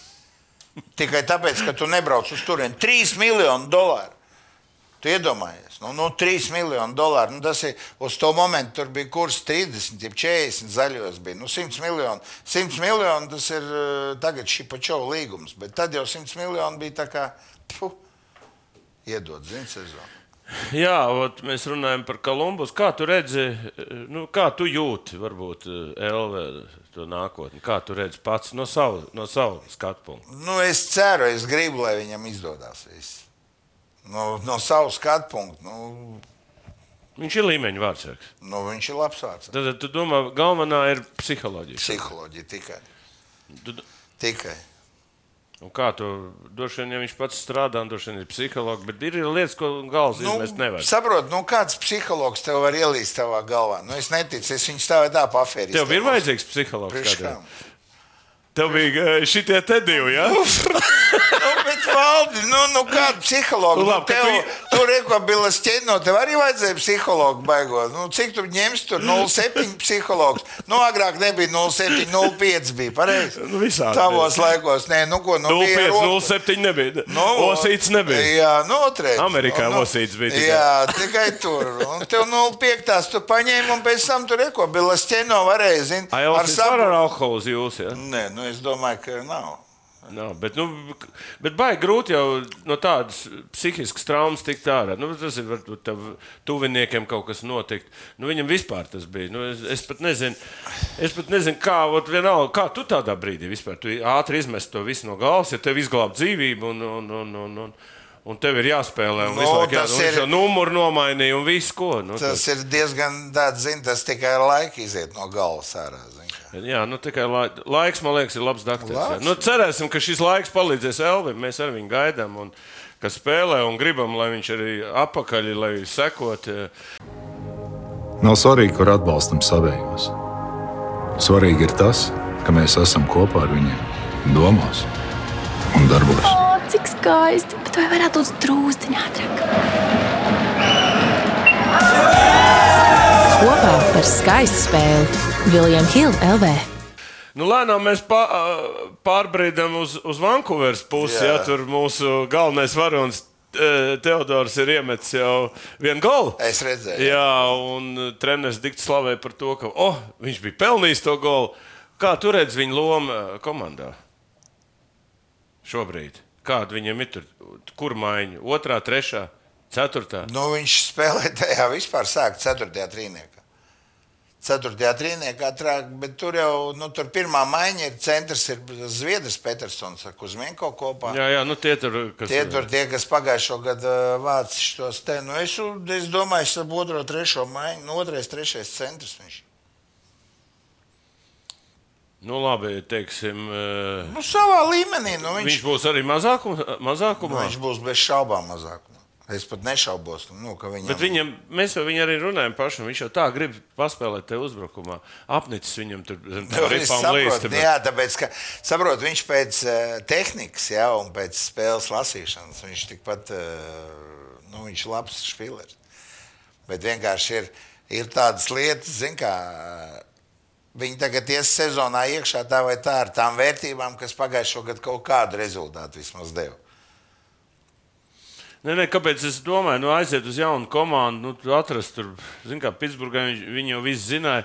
[SPEAKER 3] Tikai tāpēc, ka tu nebrauc uz turieni. 3 miljonu dolāru. Tu iedomājies, nu, nu 3 miljoni dolāru. Nu, tas ir uz to momentu, tur bija kurs 30, jeb 40 zaļos. Bija. Nu, 100 miljoni. 100 miljoni tas ir eh, tagad šī pačova līgums, bet tad jau 100 miljoni bija tā kā pfu, iedod zinu sezonu.
[SPEAKER 2] Jā, ot, mēs runājam par Kolumbus. Kā tu redzi, eh, nu, kā tu jūti, varbūt, eh, Elve, to nākotni? Kā tu redzi pats no sava, no sava skatu punkta?
[SPEAKER 3] Nu, es ceru, es gribu, lai viņam izdodas. Es, nu, no savas skatu punkta, nu,
[SPEAKER 2] Viņš ir līmeņa vārdsargs.
[SPEAKER 3] nu, viņš ir labs vārds.
[SPEAKER 2] Tad eh, tu domā, galvenā ir psiholoģija.
[SPEAKER 3] Psiholoģija tikai.
[SPEAKER 2] Tu d-
[SPEAKER 3] tikai.
[SPEAKER 2] Un Nu kā tu droši vien, ja viņš pats strādā, un droši vien ir psihologs, bet ir lietas, ko galvas nu, izmest nevar.
[SPEAKER 3] saprot, nu, kāds psihologs tev var ielīst savā galvā? Nu, es neticu, es viņu stāvēju tā pafērīju.
[SPEAKER 2] Tev bija vajadzīgs psihologs. kādreiz?
[SPEAKER 3] Priekškām.
[SPEAKER 2] Tev bija eh, šitie te divi, jā? Ja?
[SPEAKER 3] nu, bet, Valdi, nu, nu kāda psihologa?
[SPEAKER 2] Nu,
[SPEAKER 3] Nu,
[SPEAKER 2] labi, ka
[SPEAKER 3] tev,
[SPEAKER 2] tu-
[SPEAKER 3] tu reko bija ķēniņš, tev arī vajadzēja psihologu baigot. Nu, cik tu ņemsi tur 0,7 psihologs? Nu, agrāk nebija 0,7, 0,5 bija pareizi.
[SPEAKER 2] Nu, visādi
[SPEAKER 3] Tavos laikos, nē, nu, ko, nu, bija
[SPEAKER 2] 05,
[SPEAKER 3] rok-
[SPEAKER 2] 07 nebija. Osīts nebija.
[SPEAKER 3] Nu, Jā, nu, noteikti.
[SPEAKER 2] Amerikā Osīts bija tikai.
[SPEAKER 3] nu, Jā, tikai tur. Un tev 0,5 tu paņēmi, un pēc tam tur reko bija ķēniņš, varēja zināt,
[SPEAKER 2] Ai, Elvis,
[SPEAKER 3] sabu-
[SPEAKER 2] var ar alkoholu uz jūs, jā? Ja?
[SPEAKER 3] Nē, nu, es domāju, ka nav.
[SPEAKER 2] Nav, bet, nu, k- bet baigi grūti jau no tādas psihiskas traumas tikt ārā. Nu, tas ir varbūt tam tuviniekiem kaut kas notikt. Nu, viņam vispār tas bija. Nu, es, es pat nezinu, es pat nezinu kā, ot, vienalga, kā tu tādā brīdī vispār tu ātri izmest to visu no galvas, ja tev izglābt dzīvību. Un, un, un, un, un, Un tev ir jāspēlē, un
[SPEAKER 3] Nu,
[SPEAKER 2] visu laiku
[SPEAKER 3] tas
[SPEAKER 2] jāsaka,
[SPEAKER 3] ir-
[SPEAKER 2] ka numuru nomainīja un visu ko. Nu,
[SPEAKER 3] Tas ir diezgan tāds, zin, tas tikai ar laiku iziet no galvas ārā. zini, kā.
[SPEAKER 2] Jā, nu tikai lai, laiks, man liekas, ir labs dakteris.
[SPEAKER 3] Labs.
[SPEAKER 2] Nu, cerēsim, ka šis laiks palīdzēs Elvim. Mēs ar viņu gaidām, un, ka spēlē un gribam, lai viņš arī apakaļ, lai sekot. eh,
[SPEAKER 4] Nav svarīgi, kur atbalstam savējos. Svarīgi ir tas, ka mēs esam kopā ar viņiem, domās un darbos.
[SPEAKER 5] O, cik skaisti! Bet vai varētu būt drūzāk, ātrāk?
[SPEAKER 6] Kopā par skaistu spēli Viljams Hilde LV.
[SPEAKER 2] Nu, lēnām mēs pā, ā, pārbrīdam uz, uz Vankūveras pusi,
[SPEAKER 3] Jā.
[SPEAKER 2] ja tur mūsu galvenais varonis eh, Teodors ir iemetis jau vienu golu.
[SPEAKER 3] Es redzēju,
[SPEAKER 2] Jā, un uh, treneris Digits slavēja par to, ka oh, viņš bija pelnījis to golu. Kā tu redz viņa lomu eh, komandā šobrīd? Kāda viņam ir tur? Kur maiņa? Otrā, trešā, ceturtā.
[SPEAKER 3] Nu, viņš spēlēja tajā vispār sākot 4. trīniekā. 4. trīniekā trāk, bet tur jau nu, tur pirmā maiņa ir centrs, ir Zviedris Petersons ar Kuzmienko kopā.
[SPEAKER 2] Jā, jā, nu tie tur, kas uh,
[SPEAKER 3] Tie tur tie, kas pagājušo gadu ā, vāca šos te, nu es, es domāju, es ar otro, trešo maiņu, nu otrais, trešais centrs viņš.
[SPEAKER 2] Nu, labi, teiksim, eh,
[SPEAKER 3] Nu savā līmenī, nu
[SPEAKER 2] viņš
[SPEAKER 3] viņš, nu,
[SPEAKER 2] būs arī mazākum, mazākumā.
[SPEAKER 3] viņš būs bez šaubām mazāk. Es pat nešaubos, nu, ka viņam
[SPEAKER 2] Bet viņam, mēs jau viņu arī runājam pašam. Viņš jau tā grib paspēlēt te uzbrukumā. Apnicis viņam tur zem
[SPEAKER 3] Nu,
[SPEAKER 2] tām
[SPEAKER 3] es
[SPEAKER 2] ripām līst.
[SPEAKER 3] saprotu, jā, tāpēc, ka, saprot, viņš pēc eh, tehnikas jā, un pēc spēles lasīšanas viņš tikpat eh, nu, viņš ir labs spēlētājs. Bet vienkārši ir, ir tādas lietas, zin, kā eh, viņi tagad ies sezonā iekšā tā vai tā ar tām vērtībām, kas pagājušā gada kaut kādu rezultātu vismaz deva.
[SPEAKER 2] Nē, nē, kāpēc es domāju, nu aiziet uz jaunu komandu, nu tur atrast, tur, zin kā Pitsburgā viņi, viņi jau viss zināja.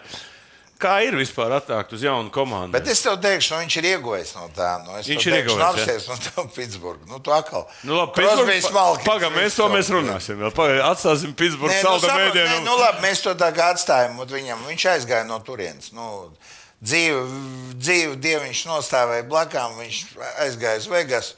[SPEAKER 2] Kā ir vispār attākt uz jaunu komandu?
[SPEAKER 3] Bet es tev teikšu, nu, viņš ir iegojis no tā. Nu, es
[SPEAKER 2] Viņš ir
[SPEAKER 3] tev teikšu,
[SPEAKER 2] ieguvējis, jā.
[SPEAKER 3] Nāksies no tā Pitsburgas. Nu, tu atkal.
[SPEAKER 2] Nu, labi,
[SPEAKER 3] Crosby,
[SPEAKER 2] Pitsburgā.
[SPEAKER 3] Smalkins,
[SPEAKER 2] Pagaidām, mēs to mēs
[SPEAKER 3] viss tev.
[SPEAKER 2] runāsim. vēl. Pagaid, Atstāsim Pitsburgā
[SPEAKER 3] Nē,
[SPEAKER 2] salda
[SPEAKER 3] saprot,
[SPEAKER 2] mēdienu.
[SPEAKER 3] nē, nu, labi, mēs to tā kā atstājam. un Viņam, viņš aizgāja no turienes. Nu, dzīve, dzīve dieviņš nostāvēja blakām, viņš aizgāja uz Vegas.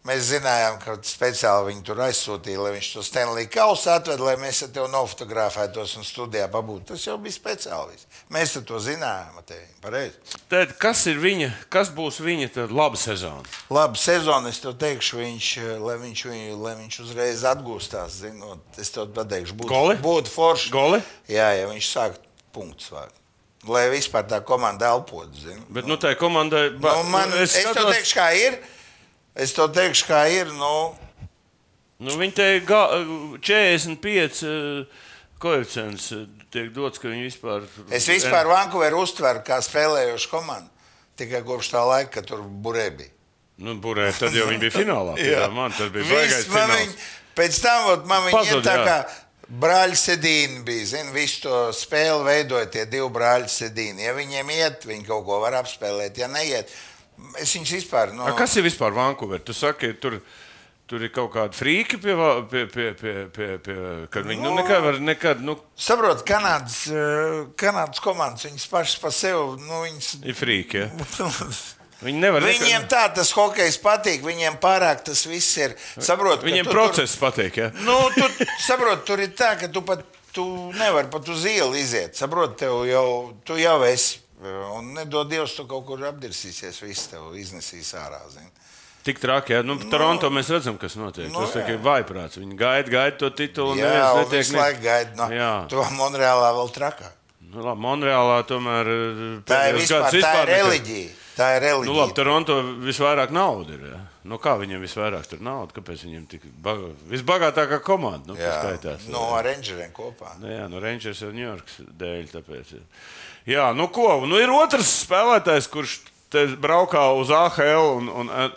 [SPEAKER 3] Mēs zinājām, ka speciāli viņu tur aizsūtīja, lai viņš to Stanley kausu atved, lai mēs ar tevi nofotografētos un studijā pabūtu. Tas jau bija speciālists. Mēs ar to zinājām, Matei, pareizi.
[SPEAKER 2] Tad, kas ir viņa, kas būs viņa tad laba sezona?
[SPEAKER 3] Labi, sezona, es tev teikšu, viņš, eh, lai, viņš, viņu- lai viņš uzreiz atgūstās. Zinot, es tev pateikšu,
[SPEAKER 2] Goli?
[SPEAKER 3] būtu, būtu forši.
[SPEAKER 2] Goli?
[SPEAKER 3] Jā, ja viņš sāk punktus vākt. Lai vispār tā komanda elpotu. zini.
[SPEAKER 2] Bet, nu, tai komandai, ba-
[SPEAKER 3] Nu, man, es es tev teikšu, kā ir. Es tev teikšu, kā ir. Nu,
[SPEAKER 2] Nu, viņi te ir 45 eh, koeficients. eh, Tiek dots, ka viņi vispār.
[SPEAKER 3] es vispār Vankūveru uztveru kā spēlējošu komandu. Tikai kopš tā laika, kad tur burē bija.
[SPEAKER 2] Nu, burē, tad jau viņi bija finālā. jā, man tas bija
[SPEAKER 3] Viss
[SPEAKER 2] baisais.
[SPEAKER 3] man viņa- Pēc tam ot, man viņa ir
[SPEAKER 2] Pazuda,
[SPEAKER 3] tā
[SPEAKER 2] jā.
[SPEAKER 3] kā brāļa sedīna bija. Zin, visu to spēli veidoja tie divi brāļi sedīni. Ja viņiem iet, viņi kaut ko var apspēlēt. Ja neiet, es viņus vispār. Nu,
[SPEAKER 2] A, kas ir vispār Vankūverā? Tu saki, tur, tur ir kaut kāda frīka pie, va- pie, pie, pie, pie, pie kad viņi nu, nekad, var, nekad, nu,
[SPEAKER 3] Saprotu, Kanādas, eh, Kanādas komandas viņas pašas par sevi. Nu, viņas,
[SPEAKER 2] ir frīka. Ja? Viņi nevar.
[SPEAKER 3] viņiem tā tas hokejs patīk, viņiem pārāk tas viss ir. Saprotu, ka
[SPEAKER 2] Viņiem
[SPEAKER 3] tu tur-
[SPEAKER 2] process patīk. Ja?
[SPEAKER 3] Nu, tu saproti, tur ir tā, ka tu pat tu nevari pat uz ielu iziet. Saproti, tev jau, tu jau esi. eh, Un nedod Dievs, tu kaut kur apdirsīsies, viss tev iznesīs ārā. Zini.
[SPEAKER 2] Tik traki, ja nu, Toronto mēs redzam, kas notiek.
[SPEAKER 3] Nu,
[SPEAKER 2] Nu, Tas
[SPEAKER 3] jā.
[SPEAKER 2] ir vaiprāts. Viņi gaida, gaida to titulu. un
[SPEAKER 3] Jā,
[SPEAKER 2] neviens
[SPEAKER 3] un
[SPEAKER 2] netiek
[SPEAKER 3] visu
[SPEAKER 2] ne-
[SPEAKER 3] laiku gaida. No,
[SPEAKER 2] Jā.
[SPEAKER 3] to Monreālā vēl trakāk.
[SPEAKER 2] Nu, labi, Monreālā tomēr eh,
[SPEAKER 3] Tā
[SPEAKER 2] pēdējos
[SPEAKER 3] ir vispār,
[SPEAKER 2] gadus
[SPEAKER 3] tā ir
[SPEAKER 2] nekad-
[SPEAKER 3] reliģija. Tā ir
[SPEAKER 2] Nu,
[SPEAKER 3] reliģija.
[SPEAKER 2] labi, Toronto visvairāk naudas ir. Ja? Nu, kā viņiem visvairāk tur naudas? Kāpēc viņiem tik baga... visbagātākā komanda? Nu,
[SPEAKER 3] jā,
[SPEAKER 2] kas skaitās,
[SPEAKER 3] no Rangeriem kopā.
[SPEAKER 2] Nu, jā, nu, Rangers ir Ņujorkas dēļ. Tāpēc, jā. jā, nu ko? Nu, ir otrs spēlētājs, kurš te braukā uz AHL. Un, un, eh,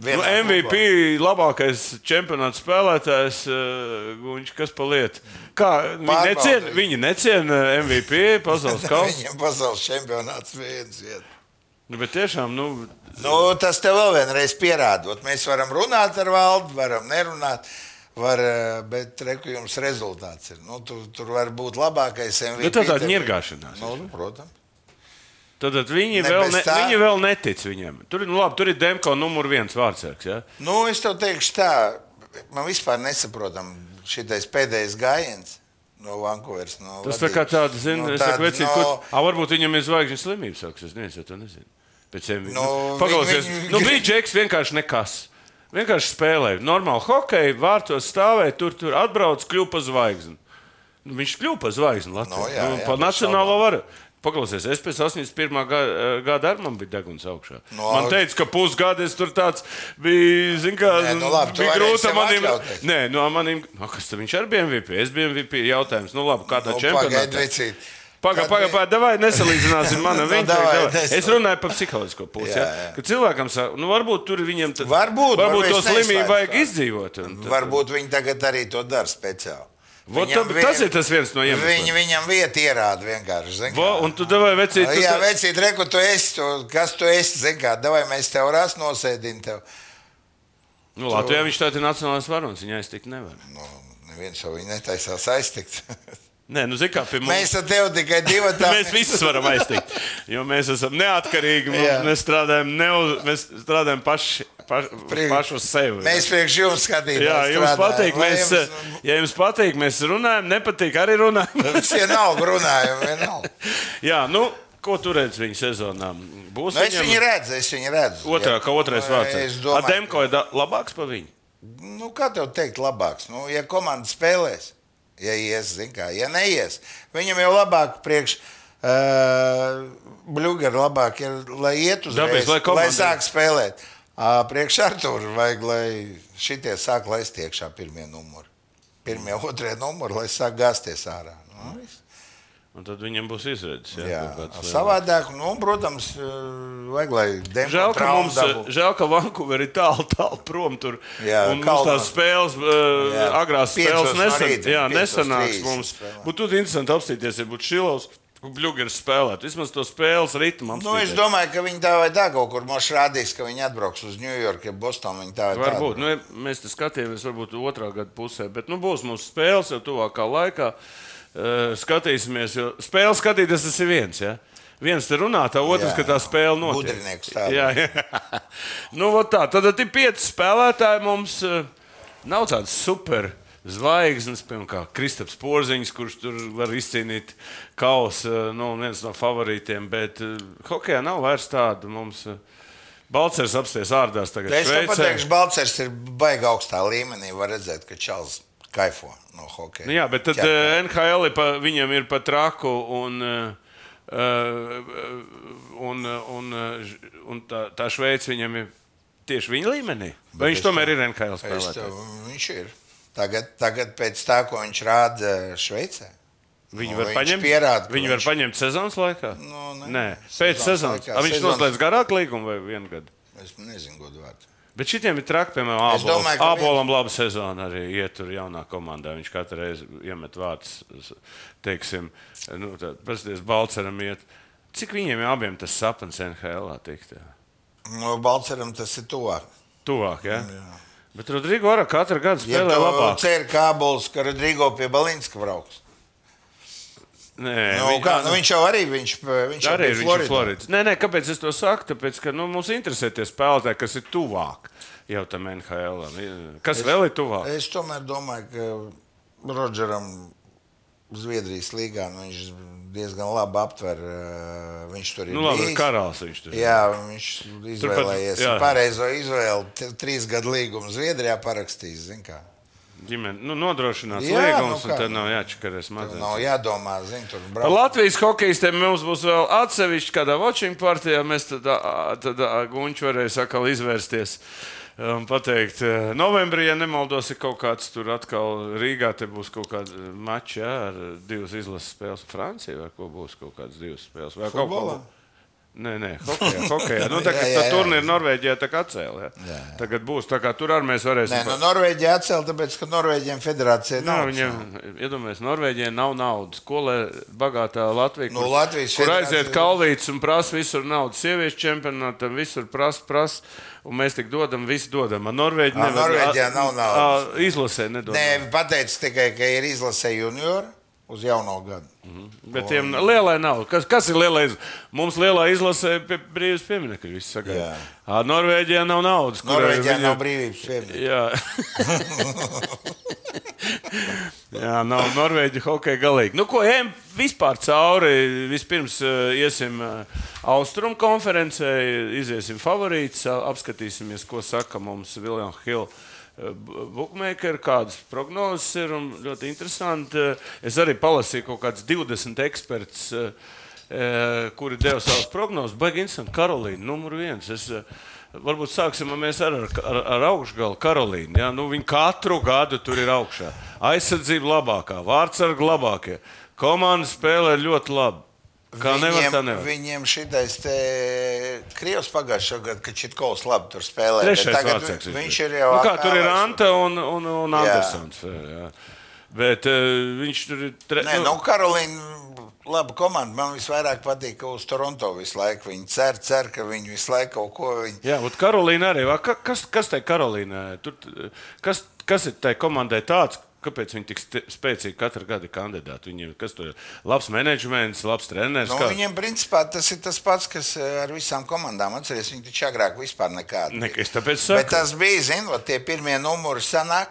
[SPEAKER 2] nu,
[SPEAKER 3] Vienā
[SPEAKER 2] MVP labākais čempionāta spēlētājs, eh, Guņš, kas paliek. Kā viņi
[SPEAKER 3] Pārbaudīju.
[SPEAKER 2] neciena viņi necien eh, MVP pasaules kausā?
[SPEAKER 3] Viņam pasaules čempionāts viens viens.
[SPEAKER 2] Nu, bet tiešām, nu,
[SPEAKER 3] Nu, tas tev vēl vienreiz pierāda. Ot, Mēs varam runāt ar valdu, varam nerunāt. Var, eh, bet reku jums rezultāts ir. Nu, tur, tur var būt labākais MVP.
[SPEAKER 2] Nu, tā tāda
[SPEAKER 3] tev-
[SPEAKER 2] ņirgāšanās.
[SPEAKER 3] Nu, protams.
[SPEAKER 2] tad, tad viņi,
[SPEAKER 3] Ne,
[SPEAKER 2] ne, vēl
[SPEAKER 3] bez
[SPEAKER 2] ne,
[SPEAKER 3] tā.
[SPEAKER 2] viņi vēl netic viņam. Tur, ir- nu, labi, tur ir Demko numur viens vārdsargs. Ja?
[SPEAKER 3] Nu, es tev teikšu tā, man vispār nesaprotam šitais pēdējais gājiens no Vankūveras. No
[SPEAKER 2] Tas tā kā
[SPEAKER 3] vadības.
[SPEAKER 2] tāds, zinu, nu, tād,
[SPEAKER 3] tāda,
[SPEAKER 2] vecīt, no... kur, a, varbūt viņam ir zvaigžņu slimības, sāks, es nezinu, to nezinu. Pēc tam, nu,
[SPEAKER 3] Nu,
[SPEAKER 2] paklausies,
[SPEAKER 3] viņi- viņi-
[SPEAKER 2] nu, bija džeks vienkārši nekas. Vienkārši spēlēja. Normāli hokeja, vārtos stāvēja, tur, tur atbrauc, kļuva par zvaigzni. Nu, viņš kļuva par zvaigzni Latvijā.
[SPEAKER 3] Nu, jā,
[SPEAKER 2] nu,
[SPEAKER 3] jā,
[SPEAKER 2] pa
[SPEAKER 3] bez
[SPEAKER 2] nacionālo varu. Paklausies, es pēc 81. ga- eh, gada arī man bija deguns augšā.
[SPEAKER 3] Nu,
[SPEAKER 2] No, man
[SPEAKER 3] aug-
[SPEAKER 2] teica, ka pusgadu es tur tāds biju, zin kā,
[SPEAKER 3] Nē, nu, labi, tu
[SPEAKER 2] bija
[SPEAKER 3] varēji
[SPEAKER 2] grūti
[SPEAKER 3] sev
[SPEAKER 2] manim.
[SPEAKER 3] atļauties.
[SPEAKER 2] Nē, nu, no maniem, no, kas tad viņš arī bija MVP? Es biju MVP jautājums, nu labi, kādā no,
[SPEAKER 3] Nu, pagaid,
[SPEAKER 2] čempionātā.
[SPEAKER 3] vecīt.
[SPEAKER 2] Pagaidām,
[SPEAKER 3] Kad
[SPEAKER 2] pagaidām,
[SPEAKER 3] vi-
[SPEAKER 2] pagaidām, vai nesalīdzināsim mani.
[SPEAKER 3] Nu,
[SPEAKER 2] Viņa
[SPEAKER 3] davai,
[SPEAKER 2] teikt, davai. es
[SPEAKER 3] nesalīdz-
[SPEAKER 2] runāju par psiholoģisko pusi.
[SPEAKER 3] Jā,
[SPEAKER 2] Jā, jā.
[SPEAKER 3] jā.
[SPEAKER 2] Kad cilvēkam saka, nu, varbūt tur viņam tas
[SPEAKER 3] Varbūt,
[SPEAKER 2] varbūt
[SPEAKER 3] varbūt
[SPEAKER 2] to
[SPEAKER 3] es
[SPEAKER 2] slimību
[SPEAKER 3] neizslēdzu
[SPEAKER 2] vajag
[SPEAKER 3] tā.
[SPEAKER 2] izdzīvot. un tad-
[SPEAKER 3] Varbūt viņi tagad arī to dara speciāli.
[SPEAKER 2] Vot
[SPEAKER 3] Viņam
[SPEAKER 2] tam- tas ir tas viens no iemesliem.
[SPEAKER 3] Viņi viņam vietu ierāda vienkārši. zini
[SPEAKER 2] Va,
[SPEAKER 3] kā.
[SPEAKER 2] un tu devai vecīt, tu
[SPEAKER 3] Jā,
[SPEAKER 2] tā-
[SPEAKER 3] vecīt, reku, tu esi, tu, kas tu esi, zini kā, davai mēs tev rast nosēdīm tev.
[SPEAKER 2] Nu, Latvijā viņš tāds ir nacionāls varonis, viņa aiztikt nevar.
[SPEAKER 3] Nu, neviens jau viņu netaisās aiztikt.
[SPEAKER 2] Nē, nu, zini, kā pie mums.
[SPEAKER 3] mēs ar tevi tikai divi
[SPEAKER 2] Mēs
[SPEAKER 3] tādi.
[SPEAKER 2] visus varam aiztikt, jo mēs esam neatkarīgi. Mums,
[SPEAKER 3] Jā.
[SPEAKER 2] mēs strādājam, neuz, mēs strādājam paši, paš,
[SPEAKER 3] Priekš-
[SPEAKER 2] paši uz sevi.
[SPEAKER 3] Mēs priekš jums skatīties.
[SPEAKER 2] jā, jums patīk, mēs, ja jums patīk, mēs runājam, nepatīk, arī runājam.
[SPEAKER 3] Mums vienalga runājam, vienalga.
[SPEAKER 2] Jā, nu, ko tu redz viņa sezonā? Būs
[SPEAKER 3] Nu, es
[SPEAKER 2] viņam
[SPEAKER 3] viņu redzu, es viņu redzu.
[SPEAKER 2] otrā,
[SPEAKER 3] Jā.
[SPEAKER 2] kā otrais
[SPEAKER 3] Nu,
[SPEAKER 2] vārds.
[SPEAKER 3] Es domāju,
[SPEAKER 2] Ademko ir da- labāks par viņu.
[SPEAKER 3] nu, kā tev teikt, labāks. Nu, ja komanda spēlēs, ja ies, zin kā, ja neies, viņam jau labāk priekš. Uh, Bluegrass labāk ir, lai iet uz
[SPEAKER 2] Dabīs, lai komanda-
[SPEAKER 3] lai sāk spēlēt. Uh, priekš Arthūra vajag, lai šitie sāk laist iekšā pirmie numuri. Pirmie, otrie numuri, lai sāk gāzties ārā. Nu, viss.
[SPEAKER 2] Un tad viņam būs izredzes. Jā,
[SPEAKER 3] Jā,
[SPEAKER 2] kaut kāds
[SPEAKER 3] savādāk, nu, protams, eh, vajag, lai
[SPEAKER 2] lielāks. Žēl, ka mums,
[SPEAKER 3] dabūtu.
[SPEAKER 2] žēl, ka Vankūveri ir tālu, tālu prom tur.
[SPEAKER 3] Jā,
[SPEAKER 2] un mums
[SPEAKER 3] kalnā.
[SPEAKER 2] tās spēles, uh,
[SPEAKER 3] Jā,
[SPEAKER 2] agrās
[SPEAKER 3] piecos
[SPEAKER 2] spēles
[SPEAKER 3] no
[SPEAKER 2] nesen,
[SPEAKER 3] rīta,
[SPEAKER 2] jā,
[SPEAKER 3] piecos
[SPEAKER 2] nesanāks
[SPEAKER 3] trīs
[SPEAKER 2] mums.
[SPEAKER 3] spēlē.
[SPEAKER 2] Būtu tad interesanti apstīties, ja būtu šilovs, kur Bluegrass spēlētu. Vismaz to spēles ritmu
[SPEAKER 3] Nu, es
[SPEAKER 2] apstīties.
[SPEAKER 3] domāju, ka viņi tā vai tā kaut kur mums rādīs, ka viņi atbrauks uz Ņujorku, ja Bostonā viņi tā vai tā.
[SPEAKER 2] Varbūt nu, mēs te skatāmies, varbūt otrā gada pusē, bet nu, būs mūsu spēles jau tuvākā laikā. eh, Skatīsimies, jo spēle skatīties, tas ir viens. Ja? Viens te runā, tā otrs,
[SPEAKER 3] Jā.
[SPEAKER 2] ka tā spēle notiek.
[SPEAKER 3] Gudrinieks tā.
[SPEAKER 2] Jā, jā. nu, vot tā. Tad ir pieci spēlētāji mums. eh, Nav tāds super zvaigznes, piemēram, kā Kristaps Porziņš, kurš tur var izcīnīt kausu, eh, nu, viens no favorītiem. Bet eh, hokeja nav vairs tāda mums. eh, Balcers apsties ārdās tagad.
[SPEAKER 3] Es
[SPEAKER 2] Šveicē.
[SPEAKER 3] tev pateikšu, Balčers ir baigā augstā līmenī. Var redzēt, ka Čels kaifo no hokeja.
[SPEAKER 2] Nu Jā, bet tad
[SPEAKER 3] Ķerpē.
[SPEAKER 2] eh, NHL ir pa, viņam ir pat traku un, eh, eh, un, eh, un, eh, ž- un tā, tā Šveice viņam ir tieši viņa līmenī. Vai viņš
[SPEAKER 3] es
[SPEAKER 2] tomēr ir NHL
[SPEAKER 3] Es tev,
[SPEAKER 2] spēlētājs?
[SPEAKER 3] viņš ir. Tagad, tagad pēc tā, ko viņš rāda Šveicē.
[SPEAKER 2] Viņu
[SPEAKER 3] Nu,
[SPEAKER 2] var
[SPEAKER 3] viņš
[SPEAKER 2] paņemt.
[SPEAKER 3] pierāda, ka
[SPEAKER 2] Viņu var
[SPEAKER 3] viņš-
[SPEAKER 2] paņemt sezonas laikā.
[SPEAKER 3] Nu, nē.
[SPEAKER 2] nē. pēc
[SPEAKER 3] Sezonas
[SPEAKER 2] sezonas.
[SPEAKER 3] laikā.
[SPEAKER 2] A, Viņš
[SPEAKER 3] Sezonas-
[SPEAKER 2] noslēdz garāku līgumu vai vienu gadu.
[SPEAKER 3] Es nezinu, godu vārdu.
[SPEAKER 2] Bet šitiem ir traki, piemēram,
[SPEAKER 3] Es domāju,
[SPEAKER 2] Ābolam.
[SPEAKER 3] ka
[SPEAKER 2] Ābolam laba sezona arī ietur jaunā komandā. Viņš katru reizi iemet vārdus, teiksim, nu, tā, prasties Balceram iet. Cik viņiem abiem tas sapnis NHL -ā tikt? ā?
[SPEAKER 3] No Balčeram Nu, tas ir tuvāk.
[SPEAKER 2] Tuvāk, ja? jā. Bet Rodrigo arī katru gadu
[SPEAKER 3] Nu, Ja
[SPEAKER 2] spēlē ja
[SPEAKER 3] tu
[SPEAKER 2] labāk.
[SPEAKER 3] ceri kābulis, ka Rodrigo pie Balinska brauks.
[SPEAKER 2] Nē,
[SPEAKER 3] Nu,
[SPEAKER 2] viņ-
[SPEAKER 3] kā, nu, viņš jau arī viņš, viņš jau
[SPEAKER 2] Arī
[SPEAKER 3] bija
[SPEAKER 2] ir
[SPEAKER 3] Floridā.
[SPEAKER 2] Florids. Florids. Nē, nē, kāpēc es to saku? Tāpēc, ka nu, mums interesē tie spēlētāji, kas ir tuvāk jau tam NHL. -am. Kas es, vēl ir tuvāk?
[SPEAKER 3] Es tomēr domāju, ka Rodžeram Zviedrijas līgā nu, viņš diezgan labi aptver. eh, Viņš tur ir
[SPEAKER 2] nu, labi,
[SPEAKER 3] bijis.
[SPEAKER 2] karalis viņš tur. ir.
[SPEAKER 3] Jā, viņš izvēlējies
[SPEAKER 2] jā.
[SPEAKER 3] Turpat, pareizo izvēli. T- Trīs gadu līgumu Zviedrijā parakstījis. zini kā.
[SPEAKER 2] ģimene, nu, nodrošināts
[SPEAKER 3] Jā,
[SPEAKER 2] līgums, un
[SPEAKER 3] nu kā.
[SPEAKER 2] tad nav jāčakarēs
[SPEAKER 3] Tur Nav
[SPEAKER 2] mazliet.
[SPEAKER 3] jādomā, zinu, tur
[SPEAKER 2] Par
[SPEAKER 3] braukt.
[SPEAKER 2] Latvijas hokeistiem mums būs vēl atsevišķi kādā watching partijā. Mēs tad, ā, tad ā, Gunčs varēs atkal izvērsties un pateikt, ā, novembrī, ja nemaldos, ir kaut kāds tur atkal Rīgā, te būs kaut kāds mačs jā, ar divas izlases spēles. Francija vai ko būs kaut kāds divas spēles? Vai kaut
[SPEAKER 3] Futbolā?
[SPEAKER 2] Nē, nē, hokejā. hokejā. Nu, tā kā
[SPEAKER 3] Jā, jā,
[SPEAKER 2] tā
[SPEAKER 3] jā.
[SPEAKER 2] turnīra Norvēģijā tā kā atcēlīja. Tagad būs tā, kā tur arī mēs varēsim.
[SPEAKER 3] Nē,
[SPEAKER 2] pa-
[SPEAKER 3] nu, no Norvēģija atcēlīja, tāpēc, ka Norvēģiem federācija
[SPEAKER 2] Jā,
[SPEAKER 3] nav.
[SPEAKER 2] viņam, iedomājieties, Norvēģijai nav naudas. Ko lai bagātā Latvija?
[SPEAKER 3] Nu, Latvijas
[SPEAKER 2] kur
[SPEAKER 3] federācija-
[SPEAKER 2] aiziet kalvīts un prasa visur naudu. Sieviešu čempionātam visur prasa, prasa, un mēs tik dodam, visi dodam. Ar Norvēģiju
[SPEAKER 3] Ā,
[SPEAKER 2] nevar-
[SPEAKER 3] Norvēģijā
[SPEAKER 2] ā,
[SPEAKER 3] nav
[SPEAKER 2] ā,
[SPEAKER 3] naudas.
[SPEAKER 2] Izlasē nedod.
[SPEAKER 3] Nē, pateicis tikai, ka ir izlasē juniori uz jauno gadu.
[SPEAKER 2] Bet tiem lielai nav. Kas, kas ir lielais? Mums lielā izlasē pie brīvas pieminekļa viss
[SPEAKER 3] Jā.
[SPEAKER 2] sagaida. Ā, Norvēģijā nav naudas. kurai
[SPEAKER 3] Norvēģijā
[SPEAKER 2] viņa-
[SPEAKER 3] nav brīvības piemiņas.
[SPEAKER 2] Jā. Jā, nav Norvēģija hokeja galīgi. Nu, ko ejam vispār cauri? Vispirms eh, iesim eh, austrumu konferencē, iziesim favorītus, a- apskatīsimies, ko saka mums Viljams Hills. Bookmaker, kādas prognozes ir un ļoti interesanti. eh, Es arī palasīju kaut kāds 20 eksperts, eh, eh, kuri deva savas prognozes. Baigi interesanti, Karolīna, numur viens. Es, eh, Varbūt sāksim mēs ar, ar, ar augšgalu Karolīnu. Ja? Nu, viņa katru gadu tur ir augšā. Aizsardzība labākā, vārdsarga labākie. Komanda spēlē ļoti labi. Kā nevar tā nevar.
[SPEAKER 3] Viņiem šitais te Krievs pagājušajā gadā, kad Čitkovs labi tur spēlēja. bet
[SPEAKER 2] Trešais
[SPEAKER 3] tagad
[SPEAKER 2] vārdsargs.
[SPEAKER 3] vi-
[SPEAKER 2] ir.
[SPEAKER 3] Viņš ir jau.
[SPEAKER 2] nu, kā,
[SPEAKER 3] atkal
[SPEAKER 2] tur ir
[SPEAKER 3] aizsargs.
[SPEAKER 2] Anta un, un, un
[SPEAKER 3] Jā.
[SPEAKER 2] Andersons. Jā. Bet uh, viņš tur ir. Tre...
[SPEAKER 3] Nē, nu, Karolīna, laba komanda. Man visvairāk patīk, ka uz Toronto visu laiku viņi cer, cer, ka viņi visu laiku kaut ko viņi.
[SPEAKER 2] Jā, un Karolīna arī. va, ka- Kas, kas tai Karolīnai? Tur, t- kas, kas ir tai komandai tāds? Kāpēc viņi tik sti- spēcīgi katru gadu ir kandidāti? Viņiem kas tur ir labs menedžments, labs treneris.
[SPEAKER 3] Nu,
[SPEAKER 2] kā-
[SPEAKER 3] viņiem, principā, tas ir tas pats, kas eh, ar visām komandām. Atcerieties, viņi taču agrāk vispār nekādu.
[SPEAKER 2] Ne, es tāpēc
[SPEAKER 3] Bet
[SPEAKER 2] saku.
[SPEAKER 3] tas bija, zinot, tie pirmie numuri sanāk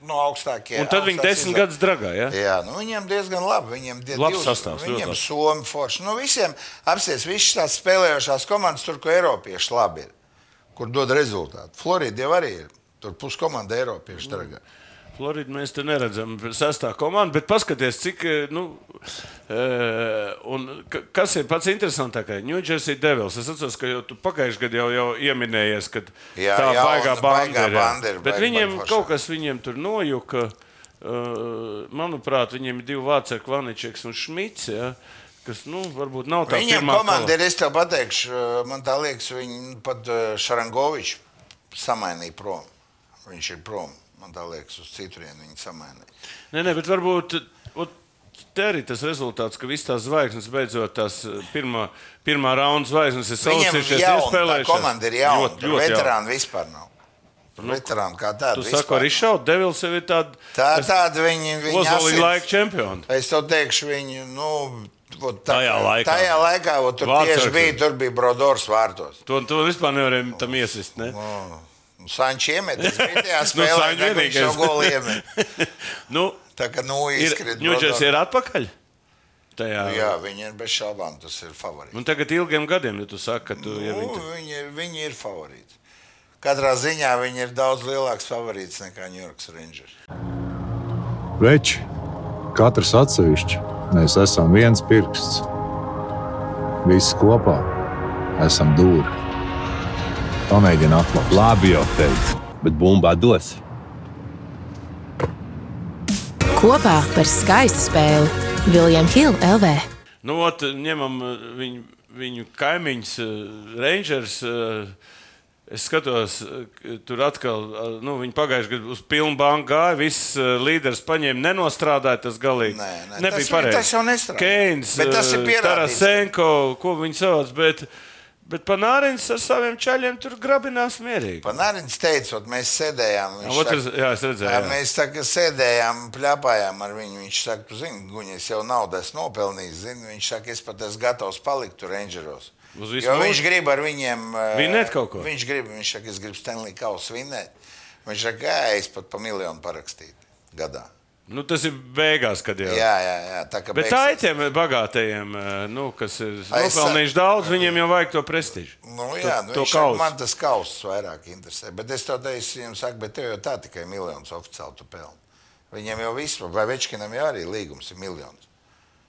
[SPEAKER 3] no augstākajiem.
[SPEAKER 2] Un tad viņi desmit gadus dragā. Ja?
[SPEAKER 3] Jā, nu viņiem diezgan labi. Viņiem ir
[SPEAKER 2] Labs sastāvs, ļoti
[SPEAKER 3] Viņiem
[SPEAKER 2] labs.
[SPEAKER 3] somi forši. Nu, visiem apsies, visas tās spēlējošās komandas tur, kur Eiropieši labi ir, kur dod rezultātu. Florida jau arī ir Tur puskomanda Eiropiešu tagad.
[SPEAKER 2] Mm. Florida mēs te neredzam sestā komandu, bet paskaties, cik. eh, Nu, eh, un ka- kas ir pats interesantākais? New Jersey Devils. Es atceros, ka jau tu pagājušajā gadā jau, jau ieminējies, ka
[SPEAKER 3] Jā,
[SPEAKER 2] tā
[SPEAKER 3] jā,
[SPEAKER 2] baigā
[SPEAKER 3] un
[SPEAKER 2] banda
[SPEAKER 3] baigā
[SPEAKER 2] ir.
[SPEAKER 3] banda ir,
[SPEAKER 2] jā. Bet
[SPEAKER 3] baigā
[SPEAKER 2] viņiem
[SPEAKER 3] banda forša.
[SPEAKER 2] kaut kas viņiem tur nojuka. eh, Manuprāt, viņiem ir divi vāci, Kvaničeks un Šmits. Ja, kas, nu, varbūt nav tā
[SPEAKER 3] Viņam
[SPEAKER 2] pirmā
[SPEAKER 3] komanda ir, es tev pateikšu, eh, man tā liekas, viņi pat eh, Šarangoviču samainīja prom. Viņš ir prom. Man tā liekas, uz citurien viņa samainīja.
[SPEAKER 2] Nē, nē, bet varbūt ot, te arī tas rezultāts, ka visas tās zvaigznes beidzot tās eh, pirmā, pirmā raunda zvaigznes ir
[SPEAKER 3] Viņam
[SPEAKER 2] saucījušās,
[SPEAKER 3] ir jauna, tā
[SPEAKER 2] iespēlējušās.
[SPEAKER 3] komanda ir jauna.
[SPEAKER 2] Ļoti,
[SPEAKER 3] Tur
[SPEAKER 2] ļoti jauna. Nu,
[SPEAKER 3] Veterāni vispār nav. Tur Veterāni kā tādi.
[SPEAKER 2] Tu saki, arī šaubu devils jau ir tāds
[SPEAKER 3] Tā tāda viņi, viņi
[SPEAKER 2] Ozolīna
[SPEAKER 3] asins-
[SPEAKER 2] laika čempioni.
[SPEAKER 3] Es tev teikšu, viņi, nu, vot tā,
[SPEAKER 2] Tajā laikā.
[SPEAKER 3] Tajā laikā, vot tur
[SPEAKER 2] Vārtsargs
[SPEAKER 3] tieši bija,
[SPEAKER 2] bija.
[SPEAKER 3] tur bija Brodors vārtos.
[SPEAKER 2] To, to vispār nevarēja tam iesist. Ne?
[SPEAKER 3] Nu, Sanči iemetis, bija tajā
[SPEAKER 2] Nu,
[SPEAKER 3] spēlē,
[SPEAKER 2] Sanči
[SPEAKER 3] nu, viņš jau
[SPEAKER 2] vienīgais.
[SPEAKER 3] goli iemet.
[SPEAKER 2] Nu,
[SPEAKER 3] Tā kā, nu,
[SPEAKER 2] ir,
[SPEAKER 3] izkrīt.
[SPEAKER 2] Ņūdžers
[SPEAKER 3] Brodors.
[SPEAKER 2] ir atpakaļ. Tajā.
[SPEAKER 3] Jā, viņi ir bez šaubām, tas ir favorīts.
[SPEAKER 2] Un tagad ilgiem gadiem, Nu, ja tu saki, ka tu jau
[SPEAKER 3] Nu,
[SPEAKER 2] viņu.
[SPEAKER 3] viņi, viņi ir favorīti. Katrā ziņā viņi ir daudz lielāks favorīts nekā New York Rangers.
[SPEAKER 4] Veči, katrs atsevišķi, mēs esam viens pirksts. Visi kopā esam dūri. Pamēģini atklāt,
[SPEAKER 7] Labi, jau teicu, bet bumbā dos.
[SPEAKER 6] Kopā par skaistu spēli Viljams Hill LV.
[SPEAKER 2] Nu, ot, ņemam eh, viņu, viņu kaimiņus, eh, Rangers. eh, Es skatos, eh, k- tur atkal, eh, nu, viņi pagājušajā gadā uz pilnu banku gāja. Viss eh, līderis paņēma, nenostrādāja tas galīgi.
[SPEAKER 3] Nē, nē,
[SPEAKER 2] Nebija
[SPEAKER 3] tas-
[SPEAKER 2] pareizi.
[SPEAKER 3] tas jau nestrādā.
[SPEAKER 2] Keins,
[SPEAKER 3] Bet tas ir
[SPEAKER 2] eh,
[SPEAKER 3] pierādīts.
[SPEAKER 2] Tarasenko, ko viņi sauc. Bet, bet Panārins ar saviem čaļiem tur grabinās mierīgi.
[SPEAKER 3] Panārins teicot, mēs sēdējām.
[SPEAKER 2] Jā,
[SPEAKER 3] viņš
[SPEAKER 2] Otrs,
[SPEAKER 3] saka,
[SPEAKER 2] jā, es redzēju.
[SPEAKER 3] Jā,
[SPEAKER 2] jā.
[SPEAKER 3] mēs tā kā sēdējām, plēpājām ar viņu. Viņš saka, tu zini, Guņš jau naudu esmu nopelnījis. Zini. Viņš saka, es pat esmu gatavs palikt tur Rangeros.
[SPEAKER 2] Uz visu
[SPEAKER 3] Jo
[SPEAKER 2] mūžu?
[SPEAKER 3] viņš grib ar viņiem. eh,
[SPEAKER 2] Vinēt kaut ko?
[SPEAKER 3] Viņš grib, viņš saka, es gribu Stanley Kausu vinnēt. Viņš saka, jā, es pat pa miljonu parakstītu gadā.
[SPEAKER 2] Nu, tas ir beigās, kad jau.
[SPEAKER 3] Jā, jā, jā tā kā
[SPEAKER 2] Bet tā ir
[SPEAKER 3] beigsies.
[SPEAKER 2] tiem bagātajiem, eh, nu, kas ir
[SPEAKER 3] Aiz-
[SPEAKER 2] nopelnījuši daudz, viņiem jau vajag to prestižu.
[SPEAKER 3] Nu, jā, nu,
[SPEAKER 2] to
[SPEAKER 3] viņš saka,
[SPEAKER 2] kausu.
[SPEAKER 3] man tas kausas vairāk interesē. Bet es to teicu, viņam saka, bet tev jau tā tikai miljonus oficiāli tu pelni. Viņam jau viss, vai Večkinam jau arī līgums ir miljonus.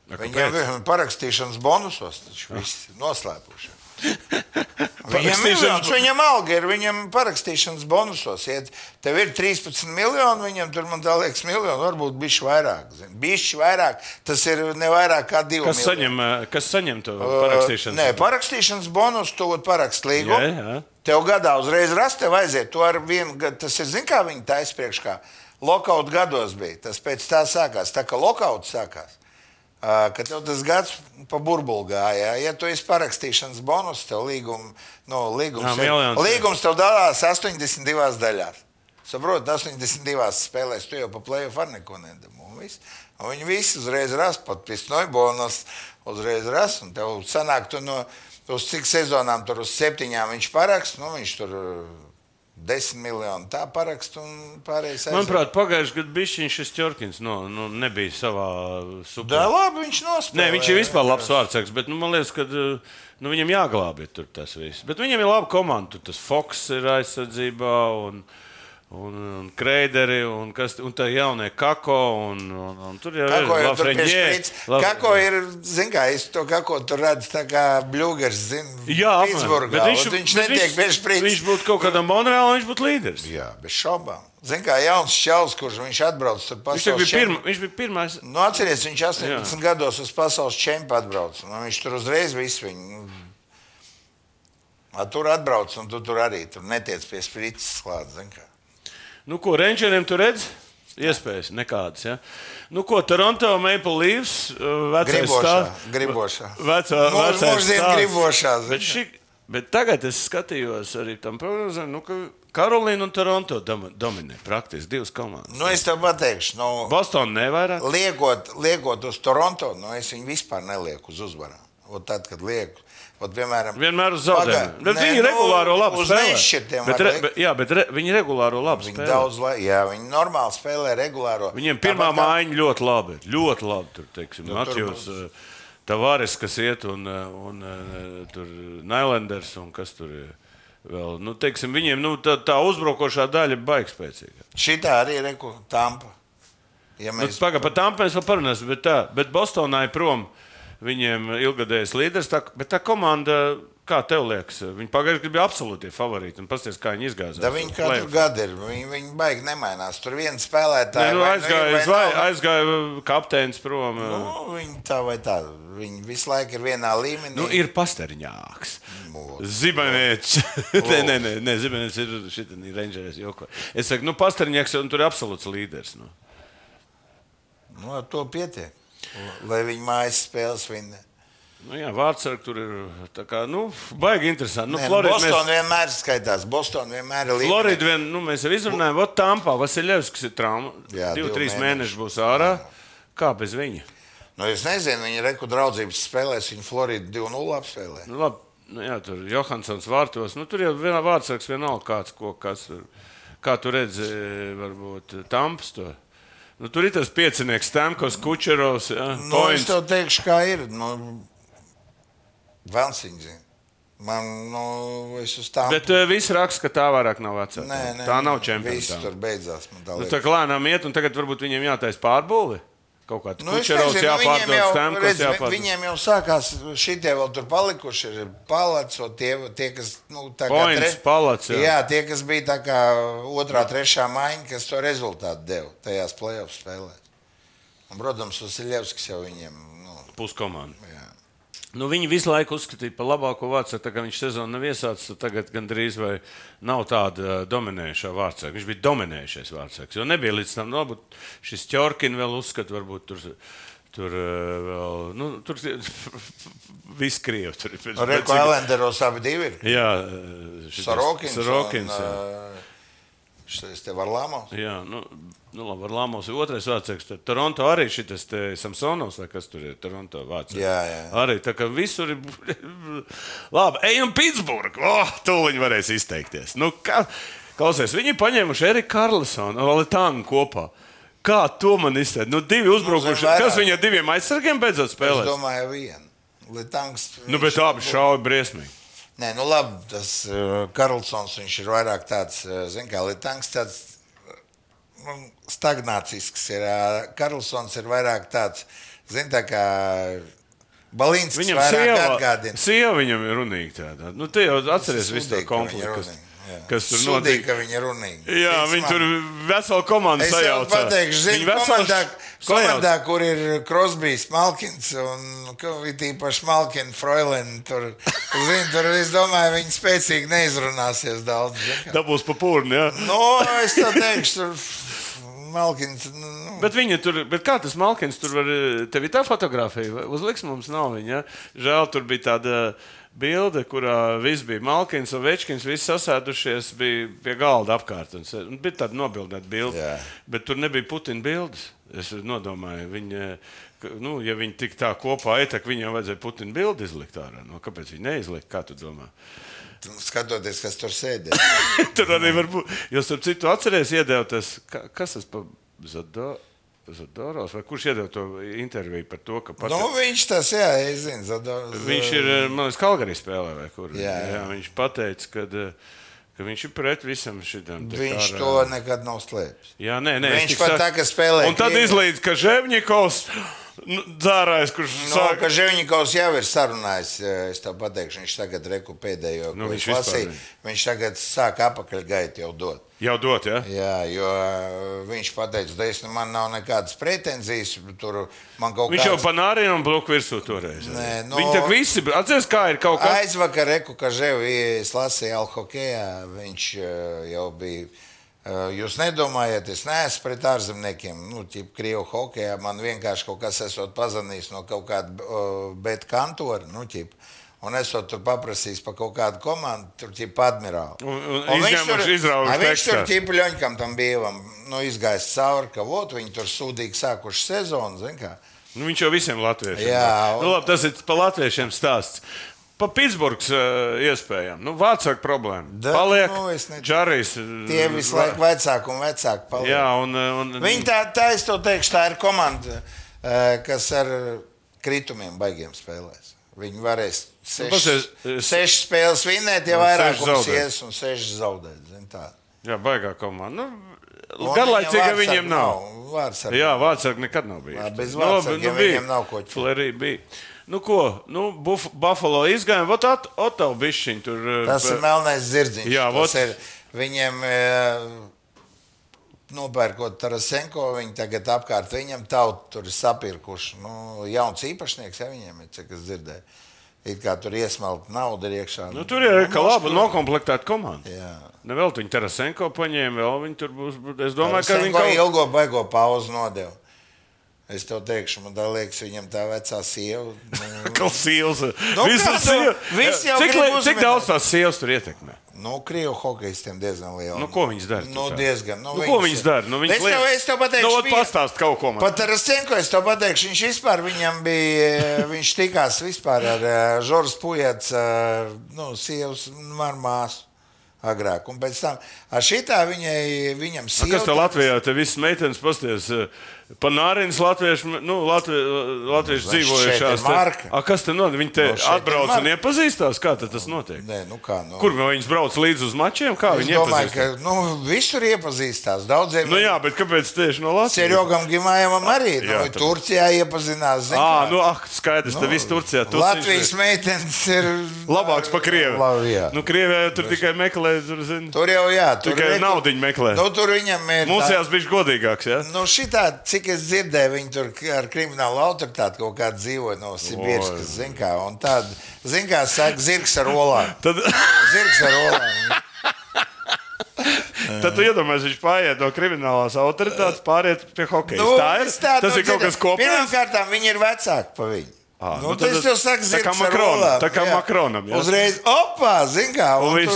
[SPEAKER 3] Viņam ir parakstīšanas bonusos, taču viss ir noslēpuši. Viņam ir
[SPEAKER 2] Ah. Parakstīšanas-
[SPEAKER 3] miljonus, viņam alga ir, viņam parakstīšanas bonusos. Ja tev ir 13 miljoni, viņam tur, man tā liekas, miljoni, varbūt bišķi vairāk. zini. Bišķi vairāk, tas ir ne vairāk kā divi
[SPEAKER 2] Kas
[SPEAKER 3] miljoni.
[SPEAKER 2] saņem, eh, kas saņem to
[SPEAKER 3] Uh,
[SPEAKER 2] parakstīšanu?
[SPEAKER 3] Nē, parakstīšanas bonus, to parakst līgumu.
[SPEAKER 2] Jā, jā.
[SPEAKER 3] Tev gadā uzreiz rast, tev aiziet. Tu ar vienu gadu, tas ir, zini, kā viņi taisa priekšā. Lokauts gados bija, tas pēc tā sākās. Tā kā lokauts sākās, ā, ka tev tas gads pa burbuli gāja. Ja tu esi parakstīšanas bonus, tev līgum, nu, līgums,
[SPEAKER 2] Jā,
[SPEAKER 3] ir-
[SPEAKER 2] miljons.
[SPEAKER 3] līgums tev dalās 82 daļās. Saprotu, 82 spēlēs, tu jau pa plēsoju ar neko nedabūji. Viņi visi uzreiz rast, pat pisnoja bonus, uzreiz rast. Un tev sanāk, tu no, uz cik sezonām tur uz septiņām viņš parakst, nu viņš tur uh, desmit miljonu tā parakst un pārējais. aiziet.
[SPEAKER 2] Manuprāt, pagājušajā gadā bija šis Čorkins. Nu, nu, nebija savā
[SPEAKER 3] tā
[SPEAKER 2] super.
[SPEAKER 3] labi viņš nospēlē.
[SPEAKER 2] Nē, viņš ir vispār labs vārdsargs, bet nu, man liekas, ka eh, nu, viņam jāglābj tur tas viss. Bet viņam ir laba komanda. Tur tas Fox ir aizsardzībā. Un... Un, un kreideri, un, kas, un tā jaunie kako, un, un, un tur jau
[SPEAKER 3] Kako
[SPEAKER 2] ir
[SPEAKER 3] jau tur
[SPEAKER 2] Lafreniere,
[SPEAKER 3] piešķīts?
[SPEAKER 2] Laf-
[SPEAKER 3] Kako ir, zin kā, es to kako tur redzu, tā kā bļūgars, zin,
[SPEAKER 2] Jā, apmēram.
[SPEAKER 3] Pitsburgā.
[SPEAKER 2] Bet
[SPEAKER 3] Viņš, viņš
[SPEAKER 2] bet
[SPEAKER 3] netiek piešķīts.
[SPEAKER 2] Viņš būtu kaut kādā Monreālā, viņš būtu līderis.
[SPEAKER 3] Jā, bez šaubām. Zin kā, jauns čels, kurš viņš atbrauc tur
[SPEAKER 2] Viņš jau
[SPEAKER 3] pasaules
[SPEAKER 2] bija, pirma, viņš bija pirmais.
[SPEAKER 3] Nu, atceries, viņš 18 Jā. gados uz pasaules čempionu atbrauca. Nu, viņš tur uzreiz visu viņu. nu, a, Tur atbrauc, un tu tur arī tur netiec pie sprites klāt, zin kā.
[SPEAKER 2] Nu, ko Rangeriem tur redz? Iespējas nekādas. Ja? Nu, ko Toronto Maple Leafs uh, vecais
[SPEAKER 3] Gribošā,
[SPEAKER 2] stāsts-
[SPEAKER 3] gribošā.
[SPEAKER 2] Vecā,
[SPEAKER 3] Mūs-
[SPEAKER 2] vecais
[SPEAKER 3] mūsdien
[SPEAKER 2] stāsts.
[SPEAKER 3] gribošā,
[SPEAKER 2] Bet, šī, bet tagad es skatījos arī tam prognozēm, nu, ka Karolīna un Toronto dom, dominē praktiski divas komandas.
[SPEAKER 3] Nu, es tev pateikšu, nu,
[SPEAKER 2] Bostonā nevairāk.
[SPEAKER 3] liekot, liekot uz Toronto, nu es viņu vispār nelieku uz uzvarām. Ot Tad, kad lieku, ot, piemēram,
[SPEAKER 2] Vienmēr uz zaudējumu. Bet viņi regulāro labu
[SPEAKER 3] nu, uz
[SPEAKER 2] spēlē.
[SPEAKER 3] nešķirtiem.
[SPEAKER 2] Bet, re, bet, jā, bet re, viņi regulāro labu
[SPEAKER 3] Viņi
[SPEAKER 2] spēlē.
[SPEAKER 3] daudz laika, jā, viņi normāli spēlē regulāro.
[SPEAKER 2] Viņiem pirmā
[SPEAKER 3] Tāpat kā-
[SPEAKER 2] mājiņa ļoti labi. ir, Ļoti labi tur, teiksim,
[SPEAKER 3] Nu, tur
[SPEAKER 2] Matjūs.
[SPEAKER 3] būs.
[SPEAKER 2] eh, Tavares, kas iet, un, eh, un eh, tur Nailenders, un kas tur ir Vēl, nu, teiksim, viņiem nu, tā, tā uzbrukošā daļa ir baigta spēcīga.
[SPEAKER 3] Šitā arī ir tampa. Ja
[SPEAKER 2] Nu,
[SPEAKER 3] mēs...
[SPEAKER 2] Pagaidām, par tām mēs vēl parunāsim. Bet, tā, bet Bostonā ir prom viņiem ilgadējs līderis. Tā, bet tā komanda, kā tev liekas, viņi pagājušajā gadā bija absolūti favorīti. Un paskatieties, kā viņi izgāzās.
[SPEAKER 3] Da viņi katru gadu ir. Viņi, viņi baigi nemainās. Tur viena spēlētāja
[SPEAKER 2] Nē, nu,
[SPEAKER 3] vai ir,
[SPEAKER 2] aizgāja,
[SPEAKER 3] vai
[SPEAKER 2] vai,
[SPEAKER 3] nav.
[SPEAKER 2] aizgāja kapteinis prom. Nu,
[SPEAKER 3] Nu, viņi tā vai tā. Viņi visu laiku ir vienā līmenī.
[SPEAKER 2] nu, ir pasteriņāks.
[SPEAKER 3] ir.
[SPEAKER 2] Zibanēts. nē, nē, nē, nē Zibanēts ir šitam rangeris. Joko. Es saku, nu, pastarņēks, un tur ir absolūts līderis. Nu.
[SPEAKER 3] Nu, ar to pietiek. Lai viņi mājas spēles vinnētu.
[SPEAKER 2] Nu, jā, Vārtsargs tur ir. tā Kā, nu, baigi interesanti. Nu,
[SPEAKER 3] Nē, nu,
[SPEAKER 2] Florida,
[SPEAKER 3] Bostonā
[SPEAKER 2] mēs,
[SPEAKER 3] vienmēr skaitās. Bostonā vienmēr ir līmenī.
[SPEAKER 2] Florida vien, nu, mēs jau izrunājām, Vot Tampā Vasiljevskis ir trauma.
[SPEAKER 3] Jā,
[SPEAKER 2] Divi,
[SPEAKER 3] divi
[SPEAKER 2] trīs mēneši
[SPEAKER 3] mēneši.
[SPEAKER 2] būs ārā. Kā bez viņa?
[SPEAKER 3] Nu, es nezinu, viņi reku draudzības spēlēs, viņi Floridu 2-0 apspēlē.
[SPEAKER 2] Nu, labi, nu, jā, tur ir Johansons vārtos. Nu, tur jau vienā vārdsargs vienalga kāds, ko, kas tur. Kā tu redzi, e, varbūt Tampas to. Nu, tur ir tas piecinieks, Stamkos, Kučerovs. Jā,
[SPEAKER 3] Nu, es
[SPEAKER 2] Points.
[SPEAKER 3] tev teikšu, kā ir. Nu, Velsiņģi. Man, nu, es uz tām.
[SPEAKER 2] Bet uh, viss raksta, ka tā vairs nav vecāka.
[SPEAKER 3] nē, nē,
[SPEAKER 2] tā nav
[SPEAKER 3] Viss
[SPEAKER 2] čempions.
[SPEAKER 3] tur beidzās. Man, tā
[SPEAKER 2] Nu,
[SPEAKER 3] liekas.
[SPEAKER 2] tā kā lēnām iet, un tagad varbūt viņiem jātaisa pārbūve. Kaut kā
[SPEAKER 3] Nu,
[SPEAKER 2] tāds
[SPEAKER 3] es
[SPEAKER 2] čeros
[SPEAKER 3] nezinu, viņiem
[SPEAKER 2] jāpārdod,
[SPEAKER 3] jau,
[SPEAKER 2] stamkos
[SPEAKER 3] redz, vi-
[SPEAKER 2] jāpārdod.
[SPEAKER 3] Viņiem jau sākās, šitie vēl tur palikuši, ir palacs, un tie, tie kas, nu, tā
[SPEAKER 2] Points,
[SPEAKER 3] kā... tre-
[SPEAKER 2] Palacs, jā.
[SPEAKER 3] jā. tie, kas bija tā kā otrā, trešā maiņa, kas to rezultātu deva tajās playoff spēlēs. Un, protams, Vasiljevskis jau viņiem, nu,
[SPEAKER 2] Puskomanda.
[SPEAKER 3] jā.
[SPEAKER 2] Nu, viņi visu laiku uzskatīja par labāko vārdu. Tā kā viņš sezonu nav iesācis, tad tagad gandrīz vai nav tāda ā, dominējošā vārdsaka. Viņš bija dominējušais vārdsaks. Jo nebija līdz tam, nu, šis ķorkins vēl uzskata, varbūt tur. Tur ā, vēl, nu, tur tie- viss krievi tur ir. pēc-
[SPEAKER 3] Nu,
[SPEAKER 2] pēc
[SPEAKER 3] Reku
[SPEAKER 2] cik-
[SPEAKER 3] Elenderos abi divi ir.
[SPEAKER 2] Jā, šis-
[SPEAKER 3] Sorokins.
[SPEAKER 2] Sorokins, jā.
[SPEAKER 3] uh, Šis te Varlāmo.
[SPEAKER 2] Jā, nu, nu labi, ar Lamos ir otrais vārdsargs. Tad Toronto arī šis Samsonovs, vai kas tur ir? Toronto vārdsargs.
[SPEAKER 3] Jā, jā.
[SPEAKER 2] Arī tā kā visur ir. labi, ejam Pitsburgā. Oh, tūliņ varēs izteikties. Nu, kā... Klausies, viņi ir paņēmuši Eriku Karlsonu un Latviju kopā. Kā to man izteikt? Nu, divi uzbrukuši.
[SPEAKER 3] vairāk.
[SPEAKER 2] Kas viņam diviem aizsargiem beidzot
[SPEAKER 3] Es
[SPEAKER 2] spēlē?
[SPEAKER 3] domāju, vienu. Litanks.
[SPEAKER 2] Nu, bet abi šauja briesmīgi.
[SPEAKER 3] Nē, nu labi, tas eh, Karlsons viņš ir vairāk tāds, eh, zin kā, Litanks tāds nu, stagnācisks ir. eh, Karlsons ir vairāk tāds, zin tā kā Balīns.
[SPEAKER 2] Viņam
[SPEAKER 3] vairāk
[SPEAKER 2] sieva,
[SPEAKER 3] atgādina.
[SPEAKER 2] sieva viņam ir runīga tāda. Nu, te jau atceries visu to
[SPEAKER 3] Sudīgi, ka viņa
[SPEAKER 2] konfliktu, kas,
[SPEAKER 3] runīga, jā.
[SPEAKER 2] kas tur
[SPEAKER 3] Sudīgi,
[SPEAKER 2] notika.
[SPEAKER 3] ka viņa runīja.
[SPEAKER 2] Jā, viņi tur veselu komandu
[SPEAKER 3] Es jau
[SPEAKER 2] Nu, sajauca.
[SPEAKER 3] pateikšu, zinu, komandā, komandā, kur ir Krosbīs, Malkins un ka- it īpaši Malkina Froilēna. Tur, zinu, tur es domāju, viņi spēcīgi neizrunāsies daudz. zini, kā.
[SPEAKER 2] Dabūs pa pūrni, jā.
[SPEAKER 3] Nu, es tā teikšu, tur Malkins. Nu,
[SPEAKER 2] Bet viņa tur, bet kā tas Malkins tur var, tev ir tā fotografija, vai? uzliks mums nav viņa. ja? Žēl, tur bija tāda bilde, kurā viss bija Malkins un Večkins, visi sasēdušies, bija pie galda apkārt. Un, se- un bija tāda nobildēta bilde,
[SPEAKER 3] Jā.
[SPEAKER 2] bet tur nebija Putina bildes. Es nodomāju, viņa, ka, nu, ja viņi tik tā kopā ietek, viņiem vajadzēja Putina bildi izlikt ārā. No, kāpēc viņi neizlikt, kā tu domā?
[SPEAKER 3] skatoties, kas tur sēdē.
[SPEAKER 2] Tur arī var būt. Jūs tur citu atcerieties, iedeva tas, ka- kas tas pa Zado- Zadoros, vai kurš iedeva to interviju par to, ka pat,
[SPEAKER 3] Nu, viņš tas, jā, es zinu, Zador,
[SPEAKER 2] viņš ir, eh, man liekas, Kalgarī spēlē vai kur.
[SPEAKER 3] Jā, jā.
[SPEAKER 2] viņš pateica, ka, ka viņš ir pret visam šitam. te
[SPEAKER 3] Viņš
[SPEAKER 2] kara-
[SPEAKER 3] to nekad nav slēpis.
[SPEAKER 2] Jā, nē, nē,
[SPEAKER 3] Viņš pat tā, ka spēlē
[SPEAKER 2] Un tad
[SPEAKER 3] Krievijā.
[SPEAKER 2] izlīdz, ka Ževņikovs nu, dzērājs, kurš
[SPEAKER 3] Nu,
[SPEAKER 2] sāk.
[SPEAKER 3] ka Žēniņkovs jau ir sarunājis, e, es tev pateikšu, viņš tagad reku pēdējo,
[SPEAKER 2] Nu,
[SPEAKER 3] ko
[SPEAKER 2] viņš
[SPEAKER 3] viņš
[SPEAKER 2] vispār
[SPEAKER 3] lasīja.
[SPEAKER 2] ne.
[SPEAKER 3] Viņš tagad sāk apakaļgaitu jau dot.
[SPEAKER 2] Jau dot, jā?
[SPEAKER 3] Jā, jo ā, viņš pateica, ka es nu, man nav nekādas pretenzijas, tur man kaut
[SPEAKER 2] Viņš jau
[SPEAKER 3] kāds...
[SPEAKER 2] panārīja un bloku virsū toreiz.
[SPEAKER 3] Nē, nu-
[SPEAKER 2] Viņi tā visi, atceries, kā ir kaut kas.
[SPEAKER 3] Aizvakar reku, ka Žēvis lasīja Alhokejā, viņš ā, jau bija. ā, Jūs nedomājat, es neesmu pret ārzemniekiem. Nu, tīp, Krievu hokeja man vienkārši kaut kas esot pazvanījis no kaut kāda bet kantora. Nu, tīp, un esot tur paprasījis par kaut kādu komandu, tur tīp admirāli.
[SPEAKER 2] Un- un
[SPEAKER 3] viņš tur-
[SPEAKER 2] izņēmuši, izraujuši
[SPEAKER 3] a, Viņš tur
[SPEAKER 2] tekstā.
[SPEAKER 3] tīp ļoņkam tam bievam nu, izgājis cauri, ka vot, viņi tur sūdīgi sākuši sezonu. zin kā.
[SPEAKER 2] Nu, viņš jau visiem latviešiem. ir.
[SPEAKER 3] Jā, un-
[SPEAKER 2] nu, labi, tas ir pa latviešiem stāsts. Pa Pitsburgas uh, iespējām. Nu, Vācijā problēma.
[SPEAKER 3] Da,
[SPEAKER 2] Paliek
[SPEAKER 3] nu, es ne-
[SPEAKER 2] Džarijs. eh,
[SPEAKER 3] Tie visu laiku vecāki un vecāki paliek.
[SPEAKER 2] Mm, Jā, un, uh, un
[SPEAKER 3] Viņa tā, tā es to teikšu, tā ir komanda, eh, kas ar kritumiem baigiem spēlēs. Viņi varēs Sešas
[SPEAKER 2] Pazies, Nu, es-
[SPEAKER 3] seši spēles vinēt, ja
[SPEAKER 2] Un
[SPEAKER 3] vairāk
[SPEAKER 2] seši
[SPEAKER 3] mums
[SPEAKER 2] zaudēt.
[SPEAKER 3] ies un sešas zaudēt. zini tā.
[SPEAKER 2] Jā, baigā komanda.
[SPEAKER 3] Un
[SPEAKER 2] Nu, garlaicīga
[SPEAKER 3] viņam
[SPEAKER 2] viņiem
[SPEAKER 3] vārdsargu
[SPEAKER 2] nav.
[SPEAKER 3] Vārdsargu
[SPEAKER 2] Jā, Vācijā nekad nav bijis. Nu,
[SPEAKER 3] Nā, bez vārdsargiem viņiem nav ko ķert.
[SPEAKER 2] Flerī bija. Nu, ko, nu, Buf Buffalo izgāja, vot at, Otavu bišķiņ tur. eh,
[SPEAKER 3] Tas
[SPEAKER 2] pa-
[SPEAKER 3] ir melnais zirdziņš.
[SPEAKER 2] Jā,
[SPEAKER 3] Tas
[SPEAKER 2] vot.
[SPEAKER 3] ir, viņiem eh, nopērkot Tarasenko, viņi tagad apkārt viņam tautu tur ir sapirkuši. Nu, jauns īpašnieks, ja viņiem ir, cik es dzirdēju. It kā tur iesmelt naudu ir iekšā.
[SPEAKER 2] Nu, tur ir kā laba nokomplektēta komanda.
[SPEAKER 3] Jā.
[SPEAKER 2] Ne vēl viņi Tarasenko paņēma, vēl viņi tur būs. būs- Es domāju, ka
[SPEAKER 3] Tarasenko
[SPEAKER 2] viņi kaut
[SPEAKER 3] ilgo baigo pauzi nodeva. Es tev teikšu, man tā liekas, viņam tā vecā sieva. nu,
[SPEAKER 2] kā sīvs.
[SPEAKER 3] Nu, kā tu- viss jau
[SPEAKER 2] cik,
[SPEAKER 3] grib
[SPEAKER 2] lai- cik
[SPEAKER 3] uzminēt.
[SPEAKER 2] daudz tās sievas tur ietekmē?
[SPEAKER 3] Nu, krievu hokeistiem diezgan liela.
[SPEAKER 2] Nu, ko viņas dara?
[SPEAKER 3] Nu,
[SPEAKER 2] tur tā?
[SPEAKER 3] diezgan.
[SPEAKER 2] Nu, ko viņas dara? Nu, viņas
[SPEAKER 3] es, tev,
[SPEAKER 2] liek-
[SPEAKER 3] es tev pateikšu,
[SPEAKER 2] Nu, ot,
[SPEAKER 3] bija-
[SPEAKER 2] pastāst kaut ko man.
[SPEAKER 3] Pat ar Senko es to pateikšu. Viņš vispār viņam bija. eh, Viņš tikās vispār ar eh, Žoržu Pujats, eh, nu, sievas man māsu agrāk. Un pēc tam ar šitā viņai, viņam
[SPEAKER 2] Nu,
[SPEAKER 3] sieva.
[SPEAKER 2] Kas tev Latvijā? Te visas meitenes pasties. Panārins latviešu, me- nu, latvi, latviešu
[SPEAKER 3] Nu, viņš šeit
[SPEAKER 2] dzīvojušās.
[SPEAKER 3] ir Marka.
[SPEAKER 2] te- A, kas te notiek? Viņi te
[SPEAKER 3] Nu, šeit ir
[SPEAKER 2] atbrauc un
[SPEAKER 3] Marka.
[SPEAKER 2] iepazīstās. Kā tad tas notiek?
[SPEAKER 3] Nē, nu kā. Nu,
[SPEAKER 2] Kur viņas brauc līdz uz mačiem? Kā
[SPEAKER 3] Es
[SPEAKER 2] viņi
[SPEAKER 3] domāju,
[SPEAKER 2] iepazīstās?
[SPEAKER 3] ka nu, visur iepazīstās. Daudziem
[SPEAKER 2] Nu jā, bet kāpēc tieši no Latvijas?
[SPEAKER 3] Serjogam Gimājam arī.
[SPEAKER 2] Jā,
[SPEAKER 3] Jā, nu,
[SPEAKER 2] tad-
[SPEAKER 3] Turcijā iepazīstinās. zini
[SPEAKER 2] Ā,
[SPEAKER 3] kā.
[SPEAKER 2] nu, ah, skaidrs, te viss Turcijā. Tu
[SPEAKER 3] Nu, Latvijas meitenes ir
[SPEAKER 2] labāks par krievi.
[SPEAKER 3] Labi, jā.
[SPEAKER 2] Nu, krievijā jau tur tikai meklē, tur zini.
[SPEAKER 3] Tur jau jā, tur
[SPEAKER 2] Tikai
[SPEAKER 3] reku-
[SPEAKER 2] naudiņu meklē.
[SPEAKER 3] Nu, tur viņam ir.
[SPEAKER 2] Mums
[SPEAKER 3] tā-
[SPEAKER 2] jās bija godīgāks, jā?
[SPEAKER 3] Nu, šitā, cik es dzirdēju, viņi tur k- ar kriminālu autoritāti kaut kā dzīvoja no
[SPEAKER 2] Oi.
[SPEAKER 3] Sibīras. Zin kā, un tāda, zin kā, saka, zirgs ar olām.
[SPEAKER 2] Tad,
[SPEAKER 3] Zirgs ar olām.
[SPEAKER 2] tad tu iedomājies, viņš pāriet no kriminālās autoritātes, pāriet pie hokeja. tā ir,
[SPEAKER 3] Nu, es tādu
[SPEAKER 2] tas ir
[SPEAKER 3] dzirdēju.
[SPEAKER 2] kaut kas kopīgs.
[SPEAKER 3] Pirmkārt, viņi ir vecāki par viņu.
[SPEAKER 2] Ā,
[SPEAKER 3] nu,
[SPEAKER 2] nu
[SPEAKER 3] tas
[SPEAKER 2] tad-
[SPEAKER 3] jau saka,
[SPEAKER 2] tā kā
[SPEAKER 3] zirgs ar
[SPEAKER 2] Makronam,
[SPEAKER 3] olām.
[SPEAKER 2] tā kā
[SPEAKER 3] jā.
[SPEAKER 2] Makronam, jā.
[SPEAKER 3] Uzreiz, opā, zin kā,
[SPEAKER 2] Un
[SPEAKER 3] un, un
[SPEAKER 2] viss.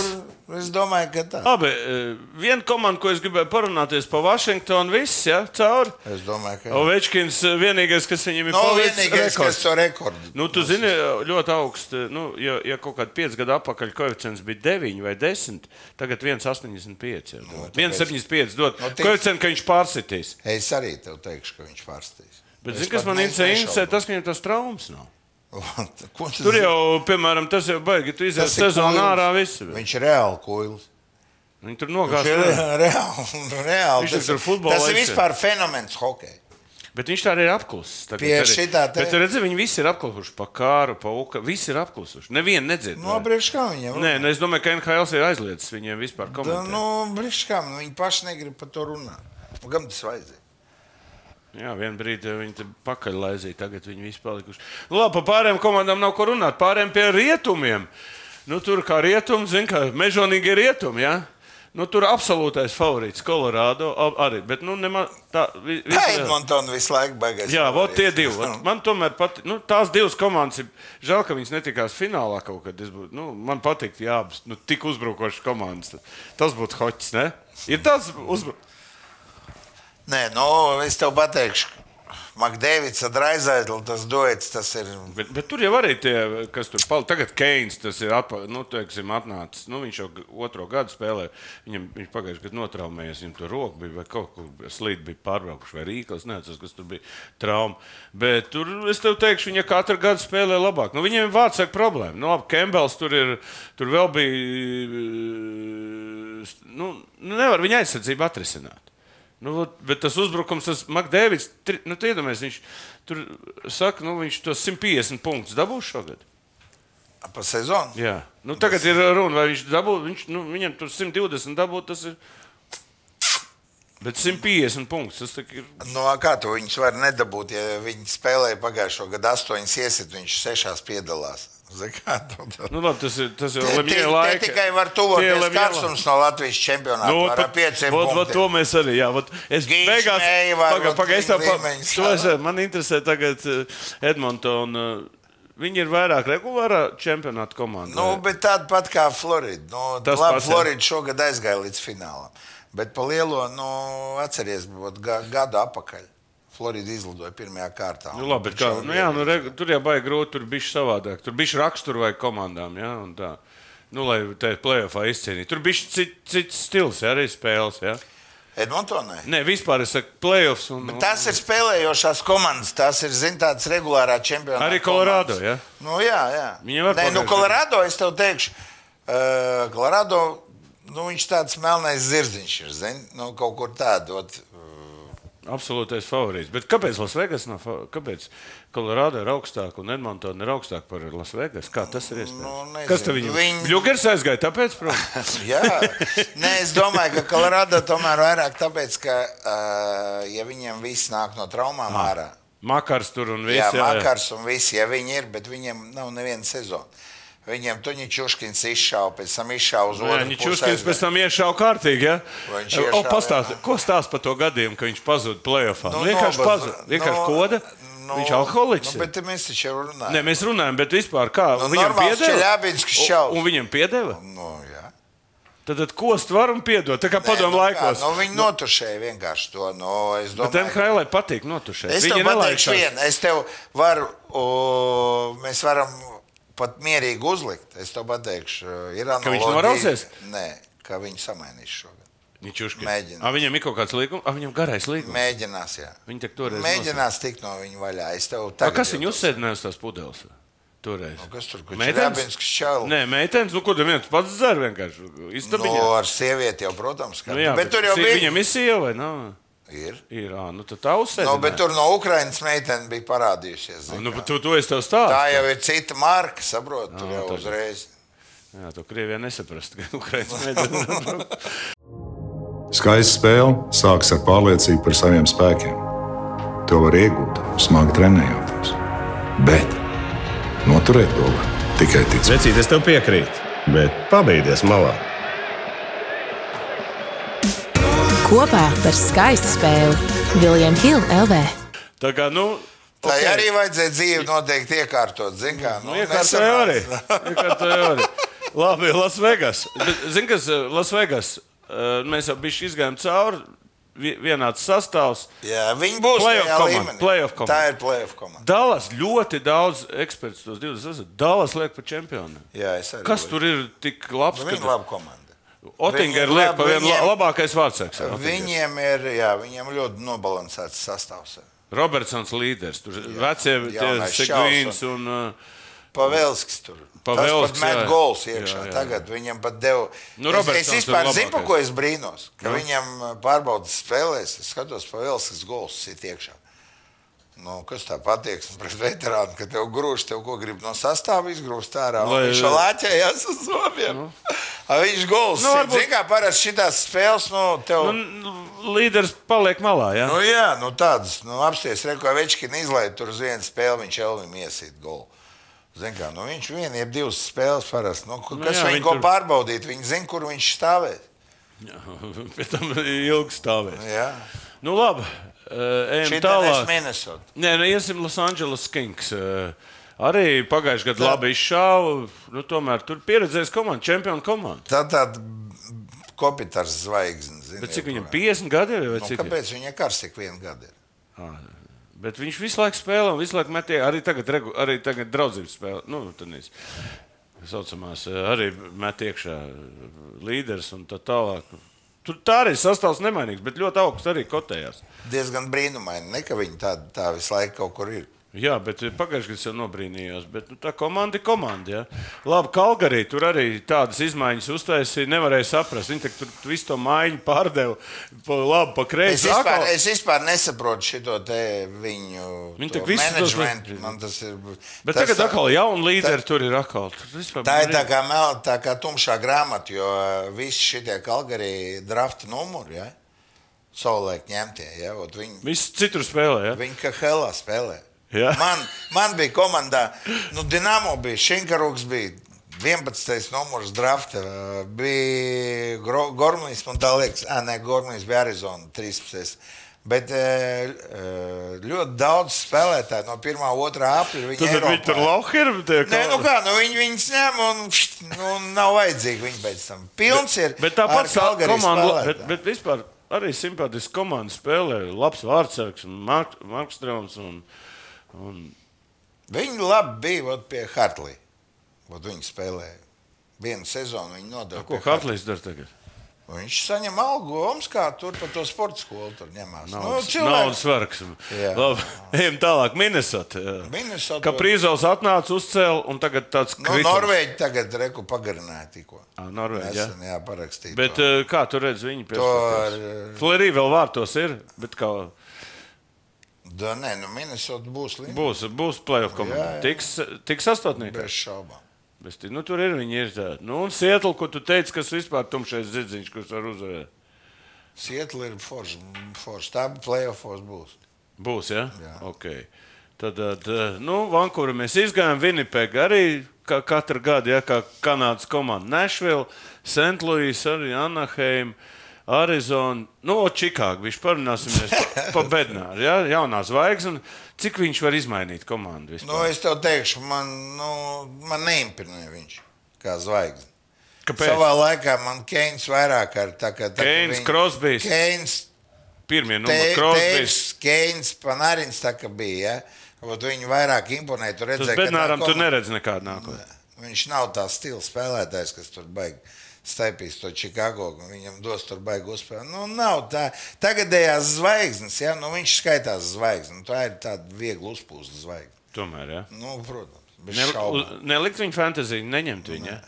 [SPEAKER 3] tur, es domāju, ka tā.
[SPEAKER 2] Labi, e, viena komanda, ko es gribēju parunāties par Vašingtonu, viss, ja, cauri.
[SPEAKER 3] Es domāju, ka.
[SPEAKER 2] Ovečkins e, vienīgais, kas viņam ir
[SPEAKER 3] No
[SPEAKER 2] palicis, ir
[SPEAKER 3] vienīgais,
[SPEAKER 2] rekords.
[SPEAKER 3] kas to rekordu.
[SPEAKER 2] Nu, tu zini, ļoti augsts. Nu, ja, ja kaut kādā piecā gada atpakaļ koeficients bija 9 vai 10, tagad 1,85. jau domāju.
[SPEAKER 3] Nu, tāpēc-
[SPEAKER 2] 1,75 dod.
[SPEAKER 3] Nu, tic-
[SPEAKER 2] Koeficients, ka viņš pārsitīs.
[SPEAKER 3] Es arī tev teikšu, ka viņš pārstīs.
[SPEAKER 2] Bet,
[SPEAKER 3] Es
[SPEAKER 2] zini, kas
[SPEAKER 3] pat
[SPEAKER 2] man
[SPEAKER 3] ne-
[SPEAKER 2] interesē, interesē,
[SPEAKER 3] nešaubu.
[SPEAKER 2] tas, ka viņam tas traumas nav.
[SPEAKER 3] Ko tas
[SPEAKER 2] Tur jau, piemēram, tas jau baigi, tu izies
[SPEAKER 3] Tas ir
[SPEAKER 2] sezonā
[SPEAKER 3] kuilis.
[SPEAKER 2] ārā visi.
[SPEAKER 3] Viņš ir reāli kuilis.
[SPEAKER 2] Viņi tur
[SPEAKER 3] Viņš ir
[SPEAKER 2] nogāja.
[SPEAKER 3] reāli. reāli.
[SPEAKER 2] Viņš ir tur
[SPEAKER 3] Tas, ir-
[SPEAKER 2] futbola
[SPEAKER 3] tas ir
[SPEAKER 2] laiks.
[SPEAKER 3] vispār fenomens hokeja.
[SPEAKER 2] Bet viņš tā arī ir apklusis. tagad
[SPEAKER 3] Pie
[SPEAKER 2] arī.
[SPEAKER 3] šitā te-
[SPEAKER 2] Bet, redziet, viņi visi ir apklusuši par kāru, par uka. Visi ir apklusuši. Nevienu nedzird.
[SPEAKER 3] No
[SPEAKER 2] vairs.
[SPEAKER 3] brīvškām Nu, viņam. Nu,
[SPEAKER 2] Nē, nu, es domāju, ka NHL ir aizliedzis viņiem vispār
[SPEAKER 3] Da,
[SPEAKER 2] komentēt.
[SPEAKER 3] no brīvškām viņi paši negrib par to runāt. Un Kam tas vajadzēja?
[SPEAKER 2] Jā, vienā brīdī viņi te pakaļlaizīja, tagad viņi visi palikuši. Nu, labi, par pārējām komandām nav ko runāt. Pārējām pie rietumiem. Nu, tur kā rietumi, zina, kā mežonīgi rietumi. Ja? Nu, tur absolūtais favorīts Colorado a- arī. Bet, nu, nemā, tā, vi,
[SPEAKER 3] Tā
[SPEAKER 2] visi-
[SPEAKER 3] Edmontona visu laiku baigās.
[SPEAKER 2] Jā, vot tie divi. Vot Man tomēr patīk, nu, tās divas komandas ir. Žēl, ka viņas netikās finālā kaut kad. Es Būtu, nu, man patīk, ja abas nu, tik uzbrukošas komandas. Tas būtu hoķis, ne? Ir tāds uzbrukums.
[SPEAKER 3] Nē, nu, es tev pateikšu. Makdēvids ar Raizaitlu tas duets, tas ir
[SPEAKER 2] Bet, bet tur jau arī tie, kas tur palika. Tagad Keins tas ir atpa, nu, teiksim, atnācis. Nu, viņš jau g- otro gadu spēlē. Viņam, viņš pagājušajā gadā notraumējies. Viņam tur roka bija vai kaut kur slīd bija pārbraukuši vai rīklis. Neatceros, kas tur bija trauma. Bet tur es tev teikšu, viņa katru gadu spēlē labāk. Nu, viņiem ir vārdsaka problēma. Nu, labi, Kembels tur ir. Tur vēl bija. e, Nu, nu, nevar viņa aizsardzību atrisināt. Nu, vot, bet tas uzbrukums, tas Makdēvis, tri- nu, tu iedomājies, viņš tur saka, nu, viņš tos 150 punktus dabūs šogad.
[SPEAKER 3] pa sezonu.
[SPEAKER 2] Jā, nu, tagad ir runa, vai viņš dabūs, viņš, nu, viņam tur 120 dabūs, tas ir. Bet 150 punktus tas tak ir.
[SPEAKER 3] Nu, a kā tu viņus vari nedabūt, ja viņi spēlēja pagājušo gadu astoņas iesit, viņš sešās piedalās. Zini kā, tu- tu-
[SPEAKER 2] Nu, labi, tas ir. Tas ir
[SPEAKER 3] Tie-
[SPEAKER 2] Lemjē
[SPEAKER 3] tie-
[SPEAKER 2] laika.
[SPEAKER 3] Tie tikai var
[SPEAKER 2] Tie
[SPEAKER 3] tuvoties
[SPEAKER 2] Lemjē
[SPEAKER 3] karsums no Latvijas čempionāta.
[SPEAKER 2] Nu,
[SPEAKER 3] No,
[SPEAKER 2] vot,
[SPEAKER 3] ar pieciem
[SPEAKER 2] vot, vot, to
[SPEAKER 3] punktiem.
[SPEAKER 2] mēs arī. Jā, vot, es
[SPEAKER 3] Gīčs,
[SPEAKER 2] beigās
[SPEAKER 3] Meija vai
[SPEAKER 2] pagaidu,
[SPEAKER 3] vot
[SPEAKER 2] pagaidu, es tev
[SPEAKER 3] viņa līmeņš, jā.
[SPEAKER 2] pateicu. Man interesē tagad eh, Edmontona. eh, Viņi ir vairāk regulārā čempionāta komanda.
[SPEAKER 3] Nu,
[SPEAKER 2] vai?
[SPEAKER 3] bet tāda pat kā Florida. Nu,
[SPEAKER 2] Tas
[SPEAKER 3] labi,
[SPEAKER 2] pats, jā.
[SPEAKER 3] Florida šogad aizgāja līdz finālam. Bet pa lielo, nu, atceries, būtu ga- gadu apakaļ. Florida izlidoja pirmajā kārtā.
[SPEAKER 2] Nu, labi, bet kā, nu, jā, nu, regu, tur jau bija grūti, tur bija savādāk. Tur bija rakstura vai komandām. Jā, un tā. nu, lai te plēsoņā izcīnītu. Tur bija cits, cits stils, jā, arī spēles. Jā.
[SPEAKER 3] Edmontonai.
[SPEAKER 2] Nē, vispār es saku, playoffs. Un,
[SPEAKER 3] Tās ir spēlējošās komandas, tās ir zin, tādas regulārā čempionāta.
[SPEAKER 2] Arī Colorado,
[SPEAKER 3] komandas.
[SPEAKER 2] ja?
[SPEAKER 3] Nu, jā, jā.
[SPEAKER 2] Viņi var
[SPEAKER 3] Nē, nu,
[SPEAKER 2] pagājušajā-
[SPEAKER 3] Colorado, es tev teikšu, uh, Colorado, nu, viņš tāds melnais zirdziņš ir, zin, nu, kaut kur tādot.
[SPEAKER 2] Absolūtais favorīts. Bet kāpēc Lasvegas nav? fa- Kāpēc Kolorādo ir augstāk un Edmontona ir augstāk par Lasvegas? Kā tas ir iespējams?
[SPEAKER 3] Nu, nezinu.
[SPEAKER 2] Kas tev viņam?
[SPEAKER 3] Viņi-
[SPEAKER 2] Ļukers aizgāja, tāpēc, protams.
[SPEAKER 3] Jā, Nē, es domāju, ka Colorado tomēr vairāk tāpēc, ka, uh, ja viņiem viss nāk no traumām ārā,
[SPEAKER 2] Makars tur un Ah, viss.
[SPEAKER 3] Jā, Makars un visi, ja viņi ir, bet viņiem nav neviena sezona. Viņiem Tuņķis izšāva, pēc tam izšāva uz otru.
[SPEAKER 2] Viņš
[SPEAKER 3] pusi
[SPEAKER 2] uzskatīs,
[SPEAKER 3] aizvien.
[SPEAKER 2] pēc tam iešāva kārtīgi. Ja?
[SPEAKER 3] Vai viņš
[SPEAKER 2] O,
[SPEAKER 3] iešāva,
[SPEAKER 2] pastāst,
[SPEAKER 3] jā.
[SPEAKER 2] ko stāsta par to gadījumu, ka viņš pazuda plēsoņā? Nu, vienkārši
[SPEAKER 3] noba-
[SPEAKER 2] pazuda. Vienkārši koda. Viņš alkoholiķis ir
[SPEAKER 3] Nu, bet te mēs taču jau runājam.
[SPEAKER 2] Nē, mēs runājam, bet vispār kā
[SPEAKER 3] Nu,
[SPEAKER 2] viņam
[SPEAKER 3] normāls
[SPEAKER 2] piedeva?
[SPEAKER 3] Čeļabins, kas
[SPEAKER 2] Un-
[SPEAKER 3] šaus.
[SPEAKER 2] Un viņam piedeva?
[SPEAKER 3] Nu, jā.
[SPEAKER 2] Tad, tad ko stvaram piedot? Tā kā
[SPEAKER 3] Nē,
[SPEAKER 2] padomu
[SPEAKER 3] nu kā,
[SPEAKER 2] laikos.
[SPEAKER 3] Nu, viņi notušēja vienkārši to. Nu, es
[SPEAKER 2] Bet
[SPEAKER 3] domāju, ka-
[SPEAKER 2] NHL patīk notušēt.
[SPEAKER 3] Es tev
[SPEAKER 2] Viņi
[SPEAKER 3] pateikšu
[SPEAKER 2] nelaikās.
[SPEAKER 3] vienu. Es tev varu, o, mēs varam pat mierīgi uzlikt. Es tev pateikšu, uh, ir analogija.
[SPEAKER 2] viņš norausies?
[SPEAKER 3] Nē, ka viņi samainīs šogad.
[SPEAKER 2] Ničuškis.
[SPEAKER 3] Mēģina.
[SPEAKER 2] A, viņam ir kaut kāds līgums, A, viņam garais līgums. Mē...
[SPEAKER 3] Mēģinās, jā.
[SPEAKER 2] Viņi tiek toreiz.
[SPEAKER 3] Mēģinās tikt no viņa vaļā. Es tev
[SPEAKER 2] A,
[SPEAKER 3] tagad
[SPEAKER 2] kas viņu
[SPEAKER 3] jūtos.
[SPEAKER 2] uzsēdināja uz tās pudeles? Toreiz.
[SPEAKER 3] Nu, kas tur, kurš
[SPEAKER 2] Meitenes?
[SPEAKER 3] Čeļabins, kas čau?
[SPEAKER 2] Nē, meitenes, nu, ko tu viens pats dzer vienkārši?
[SPEAKER 3] Nu,
[SPEAKER 2] Istabiņā.
[SPEAKER 3] ar sievieti jau, protams, ka.
[SPEAKER 2] Nu, jā,
[SPEAKER 3] bet, tur jau bija.
[SPEAKER 2] Viņam ir sieva, vai nav?
[SPEAKER 3] Ir.
[SPEAKER 2] Ir, ā, nu, tad tā uzsēdināja.
[SPEAKER 3] Nu, bet tur no Ukrainas meitene bija parādījusies. zini
[SPEAKER 2] Nu,
[SPEAKER 3] kā.
[SPEAKER 2] bet tu, tu esi tev stāsts.
[SPEAKER 3] Tā jau ir cita marka, saprotu, tur
[SPEAKER 2] Jā,
[SPEAKER 3] jau
[SPEAKER 2] tā-
[SPEAKER 3] uzreiz.
[SPEAKER 2] Jā, to Krievijā nesaprast, ka Ukraiņas meitene.
[SPEAKER 4] Skaista spēle sākas ar pārliecību par saviem spēkiem. To var iegūt, smagi trenējoties. Bet noturēt to var tikai ticēt.
[SPEAKER 7] Vecīt, es tev piekrītu, bet pabeigties malā.
[SPEAKER 6] Kopā par skaistu spēli Viljams Hilde LV.
[SPEAKER 2] Tā kā, nu.
[SPEAKER 3] Tā
[SPEAKER 2] ok.
[SPEAKER 3] okay. arī vajadzēja dzīvi noteikti iekārtot. Zin, kā,
[SPEAKER 2] Nu, Iekārtoja
[SPEAKER 3] nesanāca.
[SPEAKER 2] arī. Iekārtoja arī. Labi, Lasvegas. Zini, kas eh, Lasvegas? Eh, Mēs jau bijām izgājām cauri. vi- Vienāds sastāvs.
[SPEAKER 3] Jā, viņi būs
[SPEAKER 2] Playoff
[SPEAKER 3] tajā
[SPEAKER 2] komanda,
[SPEAKER 3] līmenī.
[SPEAKER 2] playoff komanda.
[SPEAKER 3] Tā ir playoff komanda.
[SPEAKER 2] Dallas ļoti daudz eksperts tos 20. esat. Dallas liek par čempionu.
[SPEAKER 3] Jā, es arī.
[SPEAKER 2] Kas tur ir tik labs?
[SPEAKER 3] ir? Nu, Viņi ir laba komanda.
[SPEAKER 2] Otinga ir
[SPEAKER 3] viņi
[SPEAKER 2] liek
[SPEAKER 3] labi,
[SPEAKER 2] par vienu la-
[SPEAKER 3] viņiem-
[SPEAKER 2] labākais vārdsargs.
[SPEAKER 3] Viņiem ir, jā, viņiem ļoti nobalansēts sastāvs. ir.
[SPEAKER 2] Robertsons līderis. Tur vecie tie
[SPEAKER 3] jaunais
[SPEAKER 2] Segvīns
[SPEAKER 3] šausmas.
[SPEAKER 2] un uh,
[SPEAKER 3] Pavelskis tur.
[SPEAKER 2] Pavelskis,
[SPEAKER 3] Tas pat met
[SPEAKER 2] jā.
[SPEAKER 3] goals iekšā.
[SPEAKER 2] Jā, jā, jā.
[SPEAKER 3] Tagad viņam pat deva.
[SPEAKER 2] Nu,
[SPEAKER 3] es,
[SPEAKER 2] Robertsons
[SPEAKER 3] es
[SPEAKER 2] ir
[SPEAKER 3] vispār zinu, par
[SPEAKER 2] labākais.
[SPEAKER 3] ko es brīnos. Ka
[SPEAKER 2] Nu.
[SPEAKER 3] viņam uh, pārbaudas spēlēs, es skatos, Pavelskis goals sit iekšā. Nu, kas tā patīk pret veterānu, ka tev grūž, tev ko grib no sastāvā izgrūst ārā.
[SPEAKER 2] Lai- uh,
[SPEAKER 3] Lai, viņš jau lāķējās uz zobiem. Nu. Viņš gols. Nu, varbūt... Zini, kā parasti šitās spēles, nu, tev...
[SPEAKER 2] un
[SPEAKER 3] Nu,
[SPEAKER 2] līderis paliek malā. Ja?
[SPEAKER 3] Nu, jā, nu tādas, nu, apstāties, ko Večkina izlaiž tur uz vienu spēli, viņš jau viņam iesīt golu. Zin kā, nu, viņš vien ir divas spēles parasti. Nu, ko-
[SPEAKER 2] Nu
[SPEAKER 3] kas
[SPEAKER 2] jā,
[SPEAKER 3] nu,
[SPEAKER 2] viņi
[SPEAKER 3] viņu ko
[SPEAKER 2] tur-
[SPEAKER 3] pārbaudīt? Viņi zina, kur viņš stāvēs.
[SPEAKER 2] Pēc tam ilgi stāvēs.
[SPEAKER 3] Jā,
[SPEAKER 2] Nu, labi. Uh, ejam
[SPEAKER 3] šī
[SPEAKER 2] tālāk.
[SPEAKER 3] tālāk. Minnesota.
[SPEAKER 2] Nē, nu, iesim Los Angeles Kings. eh, Arī pagājušajā gadā labi izšāva. Nu, tomēr tur pieredzējis komanda, čempionu komanda.
[SPEAKER 3] Tā tāda kopitārs zvaigzne. Zin,
[SPEAKER 2] Bet cik viņam 50 gadi jau ir?
[SPEAKER 3] Nu,
[SPEAKER 2] vai Cik?
[SPEAKER 3] kāpēc viņam kārs tik vienu gadu ir?
[SPEAKER 2] Bet viņš visu laiku spēlē, un visu laiku metīja arī tagad, regu- arī tagad draudzības spēlē. Nu, tenīs. Saucamās, eh, arī met iekšā eh, līderis un tā tālāk. Tur tā arī sastāvs nemainīgs, bet ļoti augsts arī kotējās.
[SPEAKER 3] Diezgan brīnumaini, ne, ka viņi tā, tā visu laiku kaut kur ir.
[SPEAKER 2] Jā, bet eh, pagājušajā gadā jau nobrīnījos. Bet, nu, tā komanda ir komanda. Ja? Labi, Kalgarī tur arī tādas izmaiņas uztaisīja. Nevarēja saprast, viņi tak tur visu to maiņu pārdeva pa labi, pa
[SPEAKER 3] Es
[SPEAKER 2] kreisi.
[SPEAKER 3] vispār,
[SPEAKER 2] Atkal-
[SPEAKER 3] es vispār nesaprotu šo viņu
[SPEAKER 2] Viņi tik
[SPEAKER 3] to
[SPEAKER 2] visus tos-
[SPEAKER 3] managementu. Man tas ir.
[SPEAKER 2] Bet
[SPEAKER 3] tas
[SPEAKER 2] tagad
[SPEAKER 3] tā-
[SPEAKER 2] atkal jaunu līderi tur ir atkal. Tur vispār
[SPEAKER 3] Tā ir tā
[SPEAKER 2] brīnums.
[SPEAKER 3] kā melna, tā kā tumšā grāmata, jo ā, visi šie Kalgarī drafta numuri, ja? savulaik ņemtie. Ja? vot Viņi,
[SPEAKER 2] Viss citur spēlē. Ja?
[SPEAKER 3] viņi kā helā spēlē.
[SPEAKER 2] Jā.
[SPEAKER 3] Man, man bija komandā, nu, Dienāmo bija, Šinkarūks bija. 11. numurs drafta ā, bija Gro- Gormlīs, man tā liekas, ah, nē, Gormlīs bija Arizona 13. Bet ā, ā, ļoti daudz spēlētāju no 1. un 2. aprīļa. viņi
[SPEAKER 2] Tad viņi
[SPEAKER 3] Eiropā
[SPEAKER 2] tur
[SPEAKER 3] ir.
[SPEAKER 2] lauhir.
[SPEAKER 3] Nē, nu kā, nu viņi viņus ņem un pšt, nu, nav vajadzīgi viņi pēc tam. Pilns ir.
[SPEAKER 2] Bet tāpat
[SPEAKER 3] ar
[SPEAKER 2] tā
[SPEAKER 3] Calgary
[SPEAKER 2] komanda, bet,
[SPEAKER 3] spēlētājiem.
[SPEAKER 2] bet vispār arī simpātiski komanda spēlē. Labs vārdsargs, Mark, Markstrāms un
[SPEAKER 3] Viņi labi bija vot, pie Hartlī. Vot viņi spēlēja. Vienu sezonu viņi nodevēja.
[SPEAKER 2] ko Hartlīs dara tagad.
[SPEAKER 3] Viņš saņem algu Omskā, tur par to sporta skolu tur ņemās. Nu,
[SPEAKER 2] Naudas
[SPEAKER 3] cilvēks
[SPEAKER 2] svarīgs.
[SPEAKER 3] Jā.
[SPEAKER 2] Labi, ejam tālāk. Minnesota.
[SPEAKER 3] Minnesota.
[SPEAKER 2] Kā Prīzels atnāca, uzcēla un tagad tāds
[SPEAKER 3] nu, Norvēģi tagad reku pagarināja tikko.
[SPEAKER 2] Ā, Norvēģi, jā.
[SPEAKER 3] Esam, jā, parakstīt.
[SPEAKER 2] Bet
[SPEAKER 3] to.
[SPEAKER 2] eh, kā tu redz viņu
[SPEAKER 3] To
[SPEAKER 2] pēc
[SPEAKER 3] ar- eh,
[SPEAKER 2] Florī vēl vārtos ir, bet kā
[SPEAKER 3] Da, nē, nu Minnesota būs līnija.
[SPEAKER 2] būs, būs playoff komanda.
[SPEAKER 3] Jā, jā.
[SPEAKER 2] Tiks, tiks astotniekā.
[SPEAKER 3] Bez šaubām.
[SPEAKER 2] Bet, nu, tur ir viņi ir tādi. Nu, un Sietla, ko tu teici, kas vispār tumšais dzidziņš, kurš var uzvarēt.
[SPEAKER 3] Sietla ir forša. Forš. Tā playoffos būs.
[SPEAKER 2] Būs, ja?
[SPEAKER 3] Jā.
[SPEAKER 2] Okay. Tad, tad, nu, Vankūru mēs izgājām, Vinipega arī, kā katru gadu, ja, kā Kanādas komanda. Nešvila, St. Louis, arī Anaheim, Arizona, nu, o, Čikāga, viņš parunāsimies pa, pa Bednāru, ja, jaunā zvaigzne, un cik viņš var izmainīt komandu
[SPEAKER 3] Nu,
[SPEAKER 2] vispār.
[SPEAKER 3] es tev teikšu, man, nu, man neimponē viņš kā zvaigznes.
[SPEAKER 2] Kāpēc?
[SPEAKER 3] Savā laikā man Keins vairāk ar tā kā tā.
[SPEAKER 2] Keins, Crosbys.
[SPEAKER 3] Keins,
[SPEAKER 2] Pirmie numuri, Krosbīs.
[SPEAKER 3] Teiks, Keins, Panārins tā kā bija. Ja? Vot Viņu vairāk imponē. Tu
[SPEAKER 2] Tas
[SPEAKER 3] redzēji, ka tā
[SPEAKER 2] Bednāram tu
[SPEAKER 3] komanda-
[SPEAKER 2] neredz nekādu nākotnē.
[SPEAKER 3] Viņš nav tāds stils spēlētājs, kas tur baigs. Staipīs to Čikāgo, un viņam dos tur baigus spēlēt. Nu, nav tā. Tagadējās zvaigznes, ja? nu, viņš skaitās zvaigznes. Nu, Tā ir tāda viegla uzpūsta zvaigzne.
[SPEAKER 2] Tomēr, ja.
[SPEAKER 3] Nu, protams, bez
[SPEAKER 2] Ne,
[SPEAKER 3] šaubām.
[SPEAKER 2] uz- nelikt viņu fantāziju, neņemt viņu. Ne.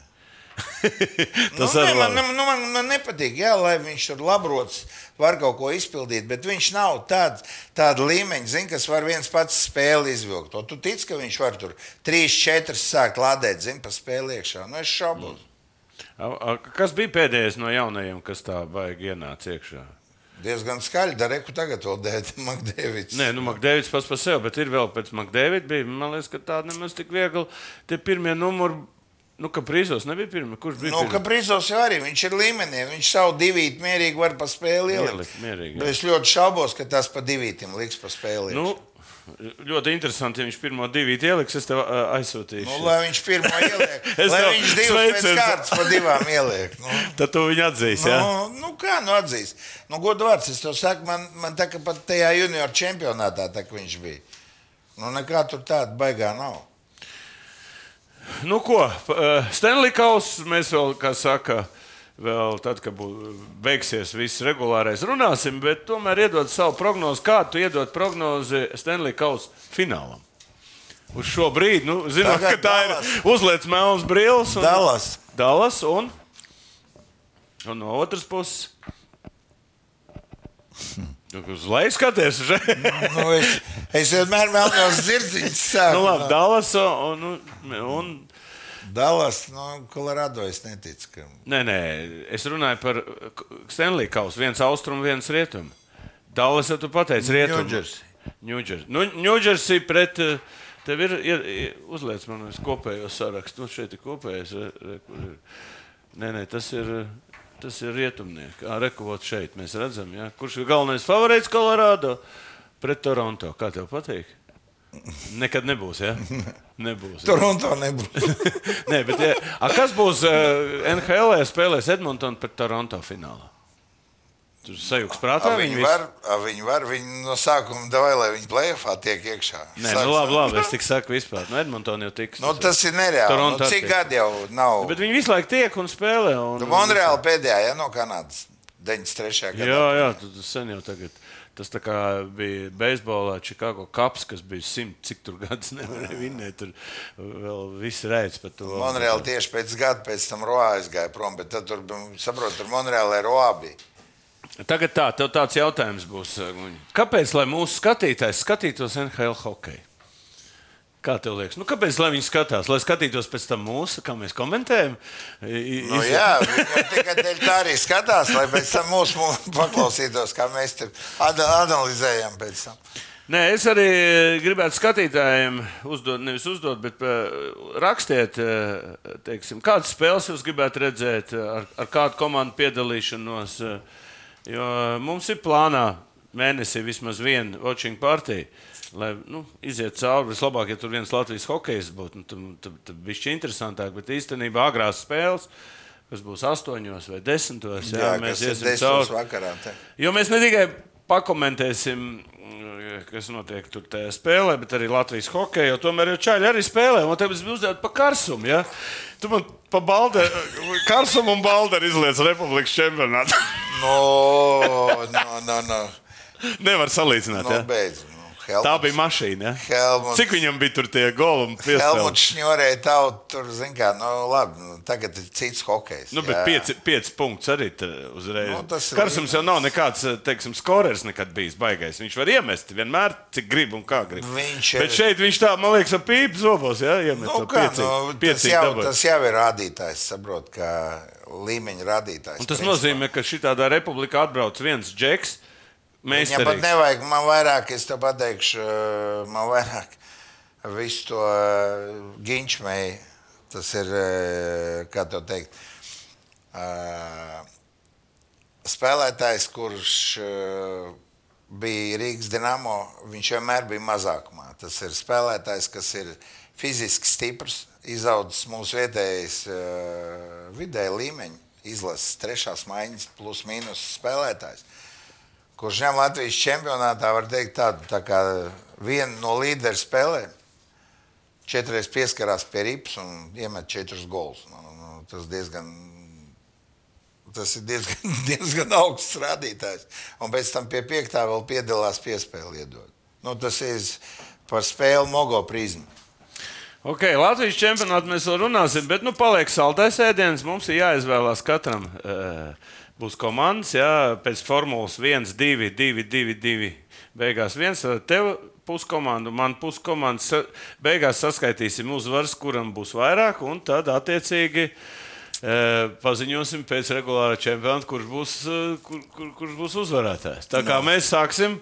[SPEAKER 3] Nu,
[SPEAKER 2] Tas
[SPEAKER 3] nē,
[SPEAKER 2] arī
[SPEAKER 3] man,
[SPEAKER 2] labi.
[SPEAKER 3] nu, man, man nepatīk, jā, lai viņš tur labrots, var kaut ko izpildīt, bet viņš nav tāds tāda līmeņa, zin, kas var viens pats spēli izvilkt. Un Tu tici, ka viņš var tur 3, 4 sākt lādēt, zin, pa spēli iekšā. Nu, es šaubos. Mm.
[SPEAKER 2] A- a- Kas bija pēdējais no jaunajiem, kas tā baigi ienāca iekšā?
[SPEAKER 3] Diezgan skaļi, Dareku tagad vēl dēta Makdēvids.
[SPEAKER 2] Nē, nu, Makdēvids pats par sevi, bet ir vēl pēc Makdēvida. bija. Man liekas, ka tāda nemaz tik viegli. Tie pirmie numuri, nu, ka Prīsos nebija pirmie. Kurš bija?
[SPEAKER 3] Nu,
[SPEAKER 2] pirmie?
[SPEAKER 3] Kaprizovs jau arī viņš ir līmenī. Viņš savu divīti mierīgi var pa spēli ielikt.
[SPEAKER 2] Ielikt, mierīgi, jā.
[SPEAKER 3] Bet es ļoti šaubos, ka tas pa divītim liks pa spēli.
[SPEAKER 2] Nu,
[SPEAKER 3] iekšā.
[SPEAKER 2] ļoti interesanti, ja viņš pirmo divu ieliks, es tev ā, aizsūtīšu.
[SPEAKER 3] Nu, lai viņš pirmo ieliek,
[SPEAKER 2] Es
[SPEAKER 3] lai
[SPEAKER 2] tev
[SPEAKER 3] viņš divas pēc
[SPEAKER 2] sveicu.
[SPEAKER 3] kārtas pa divām ieliek. Nu.
[SPEAKER 2] Tad tu viņu atzīsi. jā?
[SPEAKER 3] Nu, nu kā nu atzīs? Nu, Godu vārds, es to saku, man, man tā kā pat tajā junior čempionātā tā, kā viņš bija. Nu, nekā tur tāda baigā nav.
[SPEAKER 2] Nu, ko? Stenlikaus mēs vēl, kā saka, vēl tad, kad bū- beigsies viss regulārais, runāsim, bet tomēr iedod savu prognozi. Kādu iedod prognozi Stenlikaus finālam? Uz šo brīdi, nu, zinot, ka
[SPEAKER 3] Tagad
[SPEAKER 2] tā ir
[SPEAKER 3] Dallas.
[SPEAKER 2] uzliekts melns brīvs.
[SPEAKER 3] Dallas.
[SPEAKER 2] Dallas un, un no otras puses. Nu, Uz leju skaties, Žēl.
[SPEAKER 3] Nu, es, es vienmēr melnos zirdziņus sāku.
[SPEAKER 2] Nu, labi, Dallas un, un, un
[SPEAKER 3] Dallas, nu, Kolorado es neticu, ka
[SPEAKER 2] Nē, nē, es runāju par eh, Stanley kausu. viens austrumu, viens rietumu. Dallas jau tu pateici, rietumu.
[SPEAKER 3] Ņūdžersī.
[SPEAKER 2] Ņūdžersī. Nu, Ņūdžersī pret. eh, Tev ir, ir, ir uzliec man uz kopējo sarakstu. Nu, šeit ir kopējais. Re, re, kur ir. Nē, nē, tas ir. eh, Tas ir rietumnieks. Kā rekovot šeit, mēs redzam, ja? kurš ir galvenais favorīts Kolorādo pret Toronto. Kā tev patīk? Nekad nebūs, ja? Nebūs. ja?
[SPEAKER 3] Toronto nebūs.
[SPEAKER 2] Nē, bet, ja, a, kas būs uh, NHL spēlēs Edmontonā pret Toronto finālā? Tur sajūgs prātā.
[SPEAKER 3] A, viņi, var, a, viņi var, viņi no sākuma davai, lai viņi plēfā tiek iekšā.
[SPEAKER 2] Nē, nu, labi, labi, es tik saku vispār. Nu, Edmontonā jau tiks.
[SPEAKER 3] Nu, tas ir nereāli. Nu,
[SPEAKER 2] Toronto
[SPEAKER 3] cik
[SPEAKER 2] attiek.
[SPEAKER 3] gadi jau nav?
[SPEAKER 2] Bet viņi visu laiku tiek un spēlē. Un,
[SPEAKER 3] Nu, Monreāla pēdējā, ja no Kanādas, 93. gadā.
[SPEAKER 2] Jā, jā, tu- tu sen jau tagad. Tas tā kā bija beisbolā Chicago Cups, kas bija simts, cik tur gadus nevarēja vinēt. Tur vēl viss reiz par to.
[SPEAKER 3] Monreāla tieši pēc gada, pēc tam Roā aizgāja prom, bet tad tur, bija- saprot, tur Monreāla ir Roā bija.
[SPEAKER 2] Tagad tā, tev tāds jautājums būs. Guņ. Kāpēc, lai mūsu skatītājs skatītos NHL hokeju? Kā tev liekas? Nu, kāpēc lai viņi skatās? Lai skatītos pēc tam mūsu, kā mēs komentējam? I- i-
[SPEAKER 3] Nu,
[SPEAKER 2] iz-
[SPEAKER 3] jā, viņi tikai dēļ tā arī skatās, lai pēc tam mūsu paklausītos, kā mēs tur ad- analizējam pēc tam.
[SPEAKER 2] Nē, es arī gribētu skatītājiem uzdot, nevis uzdot, bet eh, rakstiet, eh, teiksim, kādas spēles jūs gribētu redzēt, eh, ar, ar kādu komandu piedalīšanos. eh, Jo mums ir plānā mēnesī vismaz viena watching partija. Lai nu, iziet cauri, vislabāk, ja tur viens Latvijas hokejs būtu, nu, tad, tad, tad bija šķiet interesantāk. Bet īstenībā agrās spēles, kas būs astoņos vai desmitos, jā, jā,
[SPEAKER 3] kas
[SPEAKER 2] mēs
[SPEAKER 3] ir
[SPEAKER 2] iesim
[SPEAKER 3] 10
[SPEAKER 2] cauri.
[SPEAKER 3] vakarā. Te.
[SPEAKER 2] Jo mēs ne tikai pakomentēsim, mm, kas notiek tur tajā spēlē, bet arī Latvijas hokeja. jo Tomēr jau čaļi arī spēlē. Man te bija uzdevums par karsumu. Ja? Tu man pa balde, karsumu un balderu izliec Republikas čempionātā.
[SPEAKER 3] No, no, no, no.
[SPEAKER 2] Nevar salīdzināt.
[SPEAKER 3] no
[SPEAKER 2] Ja?
[SPEAKER 3] beidz. Nu,
[SPEAKER 2] Tā
[SPEAKER 3] Helmuts-
[SPEAKER 2] bija mašīna. Ja?
[SPEAKER 3] Helmuts.
[SPEAKER 2] Cik viņam bija tur tie golumi?
[SPEAKER 3] Helmuts šņorēja tavu, tur, zin kā, nu, labi, nu, tagad ir cits hokejs.
[SPEAKER 2] Nu, bet pieci, pieci punkti arī tur uzreiz.
[SPEAKER 3] Nu,
[SPEAKER 2] No,
[SPEAKER 3] tas ir
[SPEAKER 2] Karsums jau nav nekāds, eh, teiksim, skorers nekad bijis baigais. Viņš var iemest vienmēr, cik grib un kā grib.
[SPEAKER 3] Viņš ir-
[SPEAKER 2] Bet šeit viņš tā, man liekas, ar pīpi zobos, ja? Iemet nu,
[SPEAKER 3] Nu, kā,
[SPEAKER 2] pieci,
[SPEAKER 3] nu, tas,
[SPEAKER 2] pieci
[SPEAKER 3] jau,
[SPEAKER 2] dabas.
[SPEAKER 3] tas jau ir rādītājs, saprot, kā līmeņa rādītājs.
[SPEAKER 2] Un tas
[SPEAKER 3] principā.
[SPEAKER 2] nozīmē, ka šī tādā republikā atbrauc viens džeks. Mēs
[SPEAKER 3] Viņam pat
[SPEAKER 2] tam
[SPEAKER 3] nevajag, man vairāk, es te pateikšu, eh, man vairāk visu to eh, ginčmēju. Tas ir, eh, kā to teikt, eh, spēlētājs, kurš eh, bija Rīgas Dienamo, viņš vienmēr bija mazākumā. Tas ir spēlētājs, kas ir fiziski stiprs, izaudzis mūsu vietējais eh, vidēji līmeņi, izlases trešās maiņas, plus mīnus spēlētājs kurš ņem Latvijas čempionātā, var teikt, tādu tā kā vienu no līderu spēlēm. Četreiz pieskarās pie rips un iemet četrus golus. Nu, nu, tas, diezgan, tas ir diezgan, diezgan augsts rādītājs. Un pēc tam pie piektā vēl piedalās piespēle iedod. Nu, tas ir par spēli Mogo prizmu.
[SPEAKER 2] Okay, Latvijas čempionātā mēs vēl runāsim, bet nu, paliek saldais ēdiens. Mums ir jāizvēlās katram. eh, Būs komandas, jā, pēc formulas 1, 2, 2, 2, 2. Beigās viens, tad tev puskomandu, man puskomandas. Sa- Beigās saskaitīsim uzvaras, kuram būs vairāk, un tad attiecīgi eh, paziņosim pēc regulāra čempionāta, kurš būs, eh, kur, kur, kurš būs uzvarētājs. Tā kā mēs sāksim.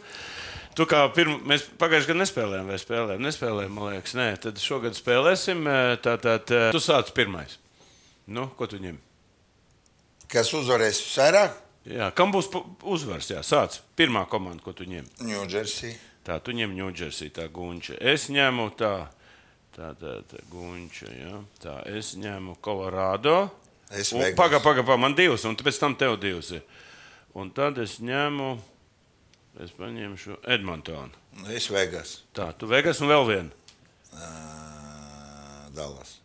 [SPEAKER 2] Tu kā pirmā, mēs pagājušajā gadā nespēlējām, vai spēlējām? Nespēlējām, man liekas, nē, tad šogad spēlēsim. eh, Tātad, tu sāc pirmais. Nu, ko tu ņem?
[SPEAKER 3] Kas uzvarēs vairāk?
[SPEAKER 2] Jā, kam būs pu- uzvars? Jā, sāc pirmā komanda, ko tu ņem.
[SPEAKER 3] Ņūdžersī.
[SPEAKER 2] Tā, tu ņem Ņūdžersī, tā gunča. Es ņemu tā, tā, tā, tā gunča, jā. Tā, es ņemu Kolorādo.
[SPEAKER 3] Es
[SPEAKER 2] Un
[SPEAKER 3] Vegas.
[SPEAKER 2] Paga, paga, paga, man divas, un pēc tam tev divas. ir. Un tad es ņemu, es paņemšu Edmontonu.
[SPEAKER 3] Es Vegas.
[SPEAKER 2] Tā, tu Vegas un vēl vienu.
[SPEAKER 3] Ā, Dallas.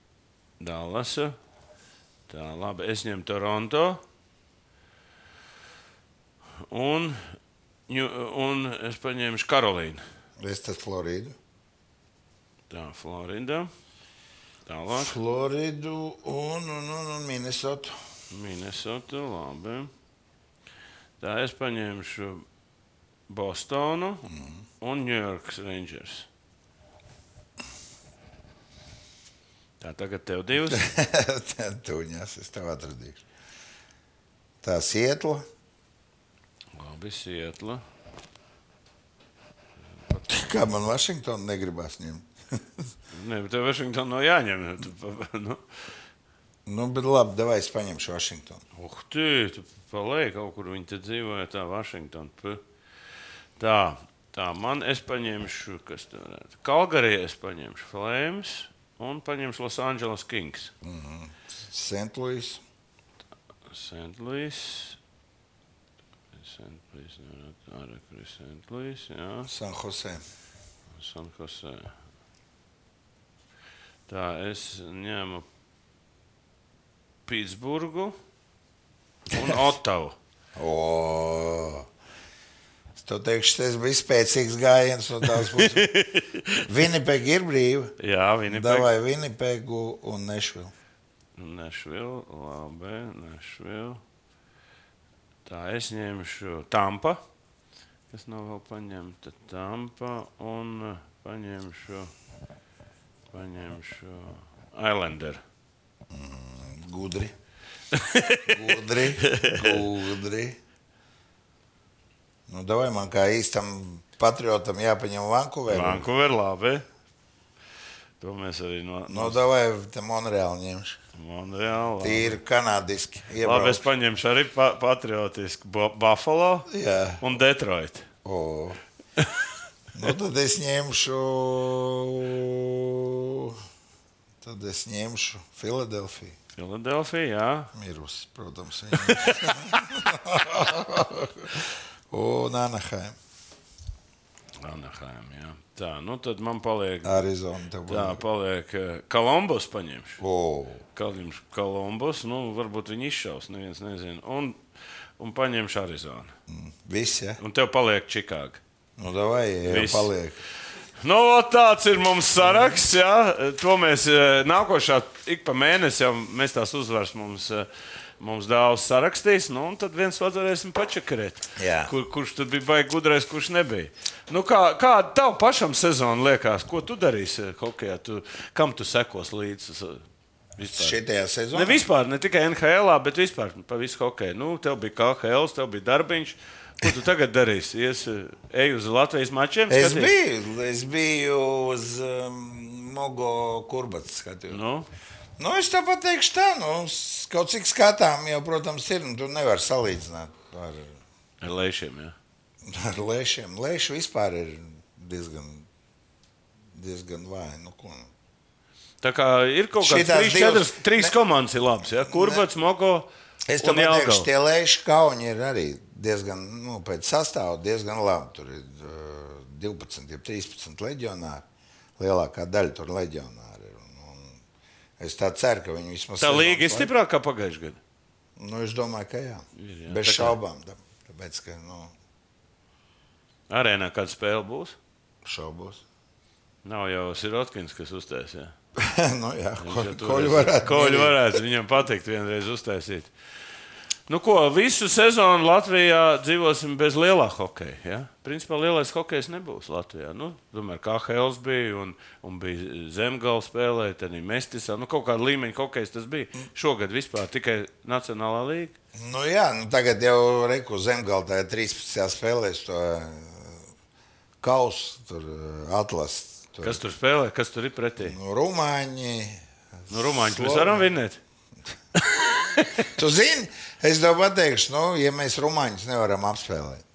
[SPEAKER 2] Dallasa. Tā, labi, es ņemu Toronto. Un, Ņu- un es paņēmu Karolīnu.
[SPEAKER 3] Es tad Floridu.
[SPEAKER 2] Tā, Florida. Tālāk,
[SPEAKER 3] Floridu un, un, un, un Minnesotu.
[SPEAKER 2] Minnesota. Labi. Tā, es paņēmu Bostonu un New York Rangers. Tā, tagad tev divas.
[SPEAKER 3] Tad tuņas es tev atradīšu. Tā sietla.
[SPEAKER 2] Labi, Sietla.
[SPEAKER 3] Kā man Vašingtonu negribas ņemt?
[SPEAKER 2] Nē, bet tev Vašingtonā nav jāņem. Tu, pa- nu.
[SPEAKER 3] Nu, bet labi, davai es paņemšu Vašingtonu.
[SPEAKER 2] Ugh, tu, tu paliec kaut kur, viņi te dzīvoja tā, Vašingtonā. P. Tā, tā, man es paņemšu, kas tur varētu. Kalgarijā es paņemšu Flames un paņemšu Los Angeles Kings.
[SPEAKER 3] Sentlīs.
[SPEAKER 2] St. Louis. St. Louis, nevarētu arī kur ir St. Louis, jā.
[SPEAKER 3] San Jose.
[SPEAKER 2] San Jose. Tā, es ņēmu Pitsburgu un Otavu.
[SPEAKER 3] O! Es tev teikšu, tas bija spēcīgs gājiens no tās puses. Vinipega ir brīva.
[SPEAKER 2] Jā, viņi
[SPEAKER 3] Davai Vinipegu un Nešvilu.
[SPEAKER 2] Nešvila, labi, Nešvila. Tā es ņemšu tampa, kas nav vēl paņemta. Tampa un eh, paņemšu, paņemšu Islanderu.
[SPEAKER 3] Gudri. Gudri. Gudri. Nu, davai man kā īstam patriotam jāpaņem Vankūverā.
[SPEAKER 2] Vankūveru, labi. To mēs arī no,
[SPEAKER 3] Nu,
[SPEAKER 2] no
[SPEAKER 3] davai te Monreāli ņemšu.
[SPEAKER 2] Monreāla.
[SPEAKER 3] Tīri kanādiski.
[SPEAKER 2] Labi, es
[SPEAKER 3] Iebrauc.
[SPEAKER 2] paņemšu arī pa, patriotisku Bu- Buffalo
[SPEAKER 3] Jā.
[SPEAKER 2] un Detroitu.
[SPEAKER 3] O. Nu, tad es ņemšu. Tad es ņemšu Filadelfiju.
[SPEAKER 2] Filadelfija, jā.
[SPEAKER 3] Mirusi, protams, viņa. un Anaheim.
[SPEAKER 2] Anaheim, jā. Tā, nu tad man paliek.
[SPEAKER 3] Arizona. tev
[SPEAKER 2] Tā,
[SPEAKER 3] būs.
[SPEAKER 2] paliek eh, Kolumbus. Paņemšu.
[SPEAKER 3] O,
[SPEAKER 2] Kalims Kolumbus, nu, varbūt viņi izšaus, neviens nezina. Un, un paņemšu Arizonu.
[SPEAKER 3] Visi, ja?
[SPEAKER 2] Un tev paliek Čikāga.
[SPEAKER 3] Nu, davai, ja
[SPEAKER 2] Viss.
[SPEAKER 3] paliek.
[SPEAKER 2] Nu, vot tāds ir mums saraksts. Jā. To mēs eh, nākošā ik pa mēnesi jau mēs tās uzvaras mums. eh, Mums dāvāts sarakstīs, nu, un tad viens otru varēsim pačakarēt.
[SPEAKER 3] Jā.
[SPEAKER 2] Kur, kurš tad bija baigts gudrais, kurš nebija. Nu, kā, kā tev pašam sezona liekas, ko tu darīsi eh, hokeja? Tu, kam tu sekos līdzi? eh, vispār?
[SPEAKER 3] Šitajā sezonā.
[SPEAKER 2] Ne vispār, ne tikai NHL, bet vispār par visu hokeju. Nu, tev bija KHL, tev bija darbiņš. Ko tu tagad darīsi? Es eju uz Latvijas mačiem.
[SPEAKER 3] Es
[SPEAKER 2] skatīties?
[SPEAKER 3] biju, es biju uz um, Mogo kurbats skatījumā.
[SPEAKER 2] Nu,
[SPEAKER 3] Nu, es tāpat teikšu, tā, nu, s- kaut cik skatām, jau, protams, ir. Nu, tu nevari salīdzināt ar,
[SPEAKER 2] ar lēšiem. Jā.
[SPEAKER 3] ar lēšiem. Lēši vispār ir diezgan, diezgan vāji. Nu, ko nu.
[SPEAKER 2] Tā kā ir kaut
[SPEAKER 3] Šitās
[SPEAKER 2] kādas
[SPEAKER 3] divas-
[SPEAKER 2] trīs, trīs
[SPEAKER 3] Ne-
[SPEAKER 2] komandas, ir labs. Ja? Kurbats, Mogo.
[SPEAKER 3] Es
[SPEAKER 2] un
[SPEAKER 3] tam teikšu,
[SPEAKER 2] Jelgava.
[SPEAKER 3] tie lēši kauni ir arī diezgan, nu, pēc sastāvā diezgan labi. Tur ir uh, 12, jeb 13 leģionāri. Lielākā daļa tur leģionāri ir leģionāri. Es tā ceru, ka viņi vismaz.
[SPEAKER 2] Tā
[SPEAKER 3] sezonas
[SPEAKER 2] līga ir
[SPEAKER 3] laikā-
[SPEAKER 2] stiprākā pagājušajā gadā.
[SPEAKER 3] Nu, es domāju, ka jā.
[SPEAKER 2] Ir, jā.
[SPEAKER 3] jā
[SPEAKER 2] Tā kā-
[SPEAKER 3] Bez tā šaubām. tā- Tāpēc, ka, nu,
[SPEAKER 2] Arēnā kāda spēle būs?
[SPEAKER 3] šaubos.
[SPEAKER 2] Nav jau Sirotkins, kas uztaisīs. Ja?
[SPEAKER 3] nu, jā, ko,
[SPEAKER 2] Viņš jau tur
[SPEAKER 3] ko
[SPEAKER 2] ir-
[SPEAKER 3] viņi varētu.
[SPEAKER 2] Koļu
[SPEAKER 3] mierīgi.
[SPEAKER 2] varētu viņam patikt, vienreiz uztaisīt. Nu, ko, visu sezonu Latvijā dzīvosim bez lielā hokeja. Ja? Principā lielais hokejs nebūs Latvijā. Nu, tomēr kā Helēns bija un, un bija zemgala spēlē, tad arī Mestisā. Nu, kaut kāda līmeņa hokejs tas bija. Šogad vispār tikai Nacionālā līnija.
[SPEAKER 3] Nu, jā, nu, tagad jau Reku zemgaldē 13. spēlēs to eh, kausu, tur eh, atlases. Tur.
[SPEAKER 2] Kas tur spēlē, kas tur ir pretī?
[SPEAKER 3] Nu, Rumāņi.
[SPEAKER 2] Nu, Rumāņi mēs varam vinēt.
[SPEAKER 3] Tu zini, es tev pateikšu, nu, ja mēs Rumāņus nevaram apspēlēt,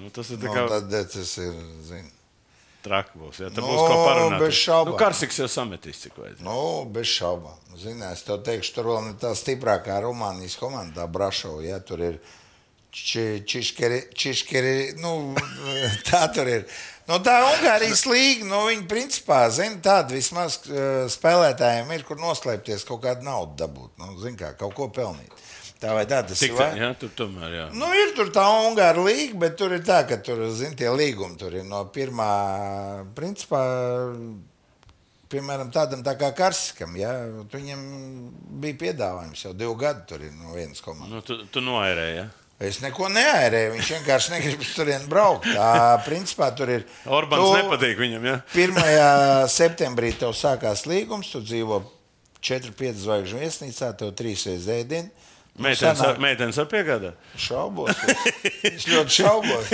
[SPEAKER 2] Nu, tas ir
[SPEAKER 3] nu,
[SPEAKER 2] tā kā
[SPEAKER 3] tad eh, tas ir. Zini.
[SPEAKER 2] traki būs. Jā, tad
[SPEAKER 3] Nu,
[SPEAKER 2] būs ko parunāt.
[SPEAKER 3] bez šaubām.
[SPEAKER 2] Nu, Karsiks jau sametīs, cik vajag.
[SPEAKER 3] Nu, bez šaubām. Zini, es tev teikšu, tur vēl ne tā stiprākā Rumānijas komanda, Brašovā. Ja, tur ir či- Čiškeri, Čiškeri, nu, tā tur ir. Nu, tā Ungārijas līnija, nu, viņa principā, zina, tāda vismaz eh, spēlētājiem ir, kur noslēpties, kaut kādu naudu dabūt, nu, zina, kā kaut ko pelnīt. Tā vai tā, tas
[SPEAKER 2] Tik,
[SPEAKER 3] ir. vai?
[SPEAKER 2] tā, jā, tur tomēr, jā.
[SPEAKER 3] Nu, ir tur tā Ungāra līnija, bet tur ir tā, ka tur, zin, tie līgumi tur ir no pirmā, principā, piemēram, tādam tā kā Karskam. Ja? Viņam bija piedāvājums jau divu gadu tur ir no vienas komandas.
[SPEAKER 2] Nu, tu, tu noērēji. Ja?
[SPEAKER 3] Es neko neairēju, viņš vienkārši negrib uz turieni braukt. Tā, principā, tur ir.
[SPEAKER 2] Orbāns
[SPEAKER 3] tu-
[SPEAKER 2] tu... nepatīk viņam. Ja?
[SPEAKER 3] 1. septembrī tev sākās līgums, tu dzīvo 4-5 zvaigžņu viesnīcā, tev 3 reizes ēdienu. Nu,
[SPEAKER 2] Meitenes,
[SPEAKER 3] sanāk-
[SPEAKER 2] ar, meitenes ar piegādā.
[SPEAKER 3] Šaubos. Es, es ļoti šaubos.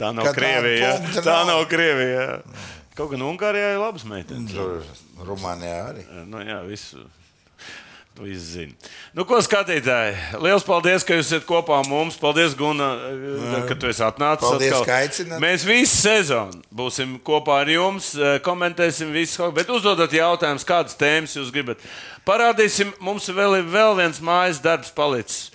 [SPEAKER 2] Tā nav
[SPEAKER 3] Ka tā
[SPEAKER 2] Krievija.
[SPEAKER 3] punkta
[SPEAKER 2] Tā, tā
[SPEAKER 3] nav.
[SPEAKER 2] nav Krievija. jā. Kaut gan Ungārijā ir labas meitenes.
[SPEAKER 3] Tur Rumānijā arī.
[SPEAKER 2] Nu, jā, visu. tu visu zini. Nu, ko skatītāji? Liels paldies, ka jūs esat kopā ar mums. Paldies, Guna, eh, ka tu esi atnācis.
[SPEAKER 3] Paldies,
[SPEAKER 2] atkal.
[SPEAKER 3] ka aicināt.
[SPEAKER 2] Mēs visu sezonu būsim kopā ar jums, eh, komentēsim visu, hokeju, bet uzdodat jautājumus, kādas tēmas jūs gribat. Parādīsim, mums vēl ir vēl viens mājas darbs palicis.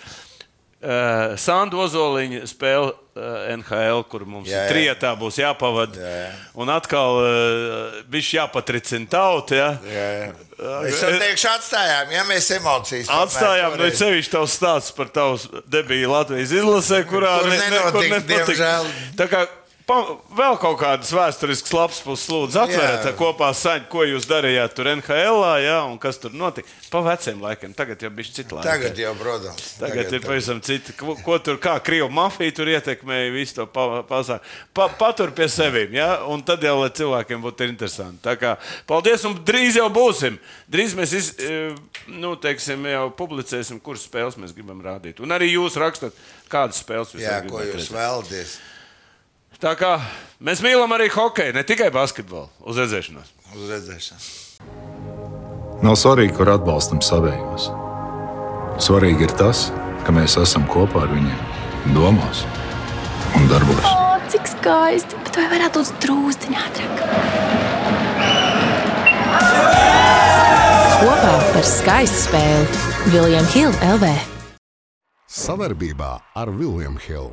[SPEAKER 2] Uh, Sandu Ozoliņa spēle uh, NHL, kur mums
[SPEAKER 3] Jā, jā.
[SPEAKER 2] trijotā būs jāpavada.
[SPEAKER 3] Jā, jā.
[SPEAKER 2] Un atkal uh, viņš jāpatricina tautu. Ja?
[SPEAKER 3] Jā, jā. Es jau teikšu, atstājām, ja mēs emocijas tomēr
[SPEAKER 2] Atstājām nu, no
[SPEAKER 3] toreiz-
[SPEAKER 2] sevis tavs stāsts par tavu debiju Latvijas izlasē, kurā
[SPEAKER 3] Kur
[SPEAKER 2] ne- nekur
[SPEAKER 3] nenotika,
[SPEAKER 2] nenotika.
[SPEAKER 3] diemžēl.
[SPEAKER 2] Tā kā pa- Vēl kaut kādas vēsturiskas lapas puses, lūdzu, atverat
[SPEAKER 3] Jā.
[SPEAKER 2] kopā saņu, ko jūs darījāt tur NHL, jā, un kas tur notika. Pa veciem laikiem, tagad jau bija cita laika.
[SPEAKER 3] Tagad jau, protams.
[SPEAKER 2] Tagad, tagad ir pavisam cita. Ko, ko tur, kā krievu mafija tur ietekmēja visu to pa- pasākumu. Pa, patur pie sevis, ja? un tad jau lai cilvēkiem būtu interesanti. Tā kā, paldies, un drīz jau būsim. Drīz mēs iz, e, nu, teiksim, jau publicēsim, kuras spēles mēs gribam rādīt. Un arī jūs rakstat, kādas spēles jūs
[SPEAKER 3] Jā,
[SPEAKER 2] vēl
[SPEAKER 3] ko
[SPEAKER 2] gribat
[SPEAKER 3] jūs
[SPEAKER 2] redzēt.
[SPEAKER 3] vēlaties?
[SPEAKER 2] Tā kā mēs mīlam arī hokeju, ne tikai basketbolu, uz redzēšanos.
[SPEAKER 3] Uz redzēšanu.
[SPEAKER 4] Nav svarīgi, kur atbalstam savējos. Svarīgi ir tas, ka mēs esam kopā ar viņiem, domās un darbos.
[SPEAKER 5] O, cik skaisti! Bet vai varētu būt drūzdiņā ātrāk?
[SPEAKER 6] Kopā par skaistu spēli Viljams Hilde LV.
[SPEAKER 1] Savarbībā ar William Hill.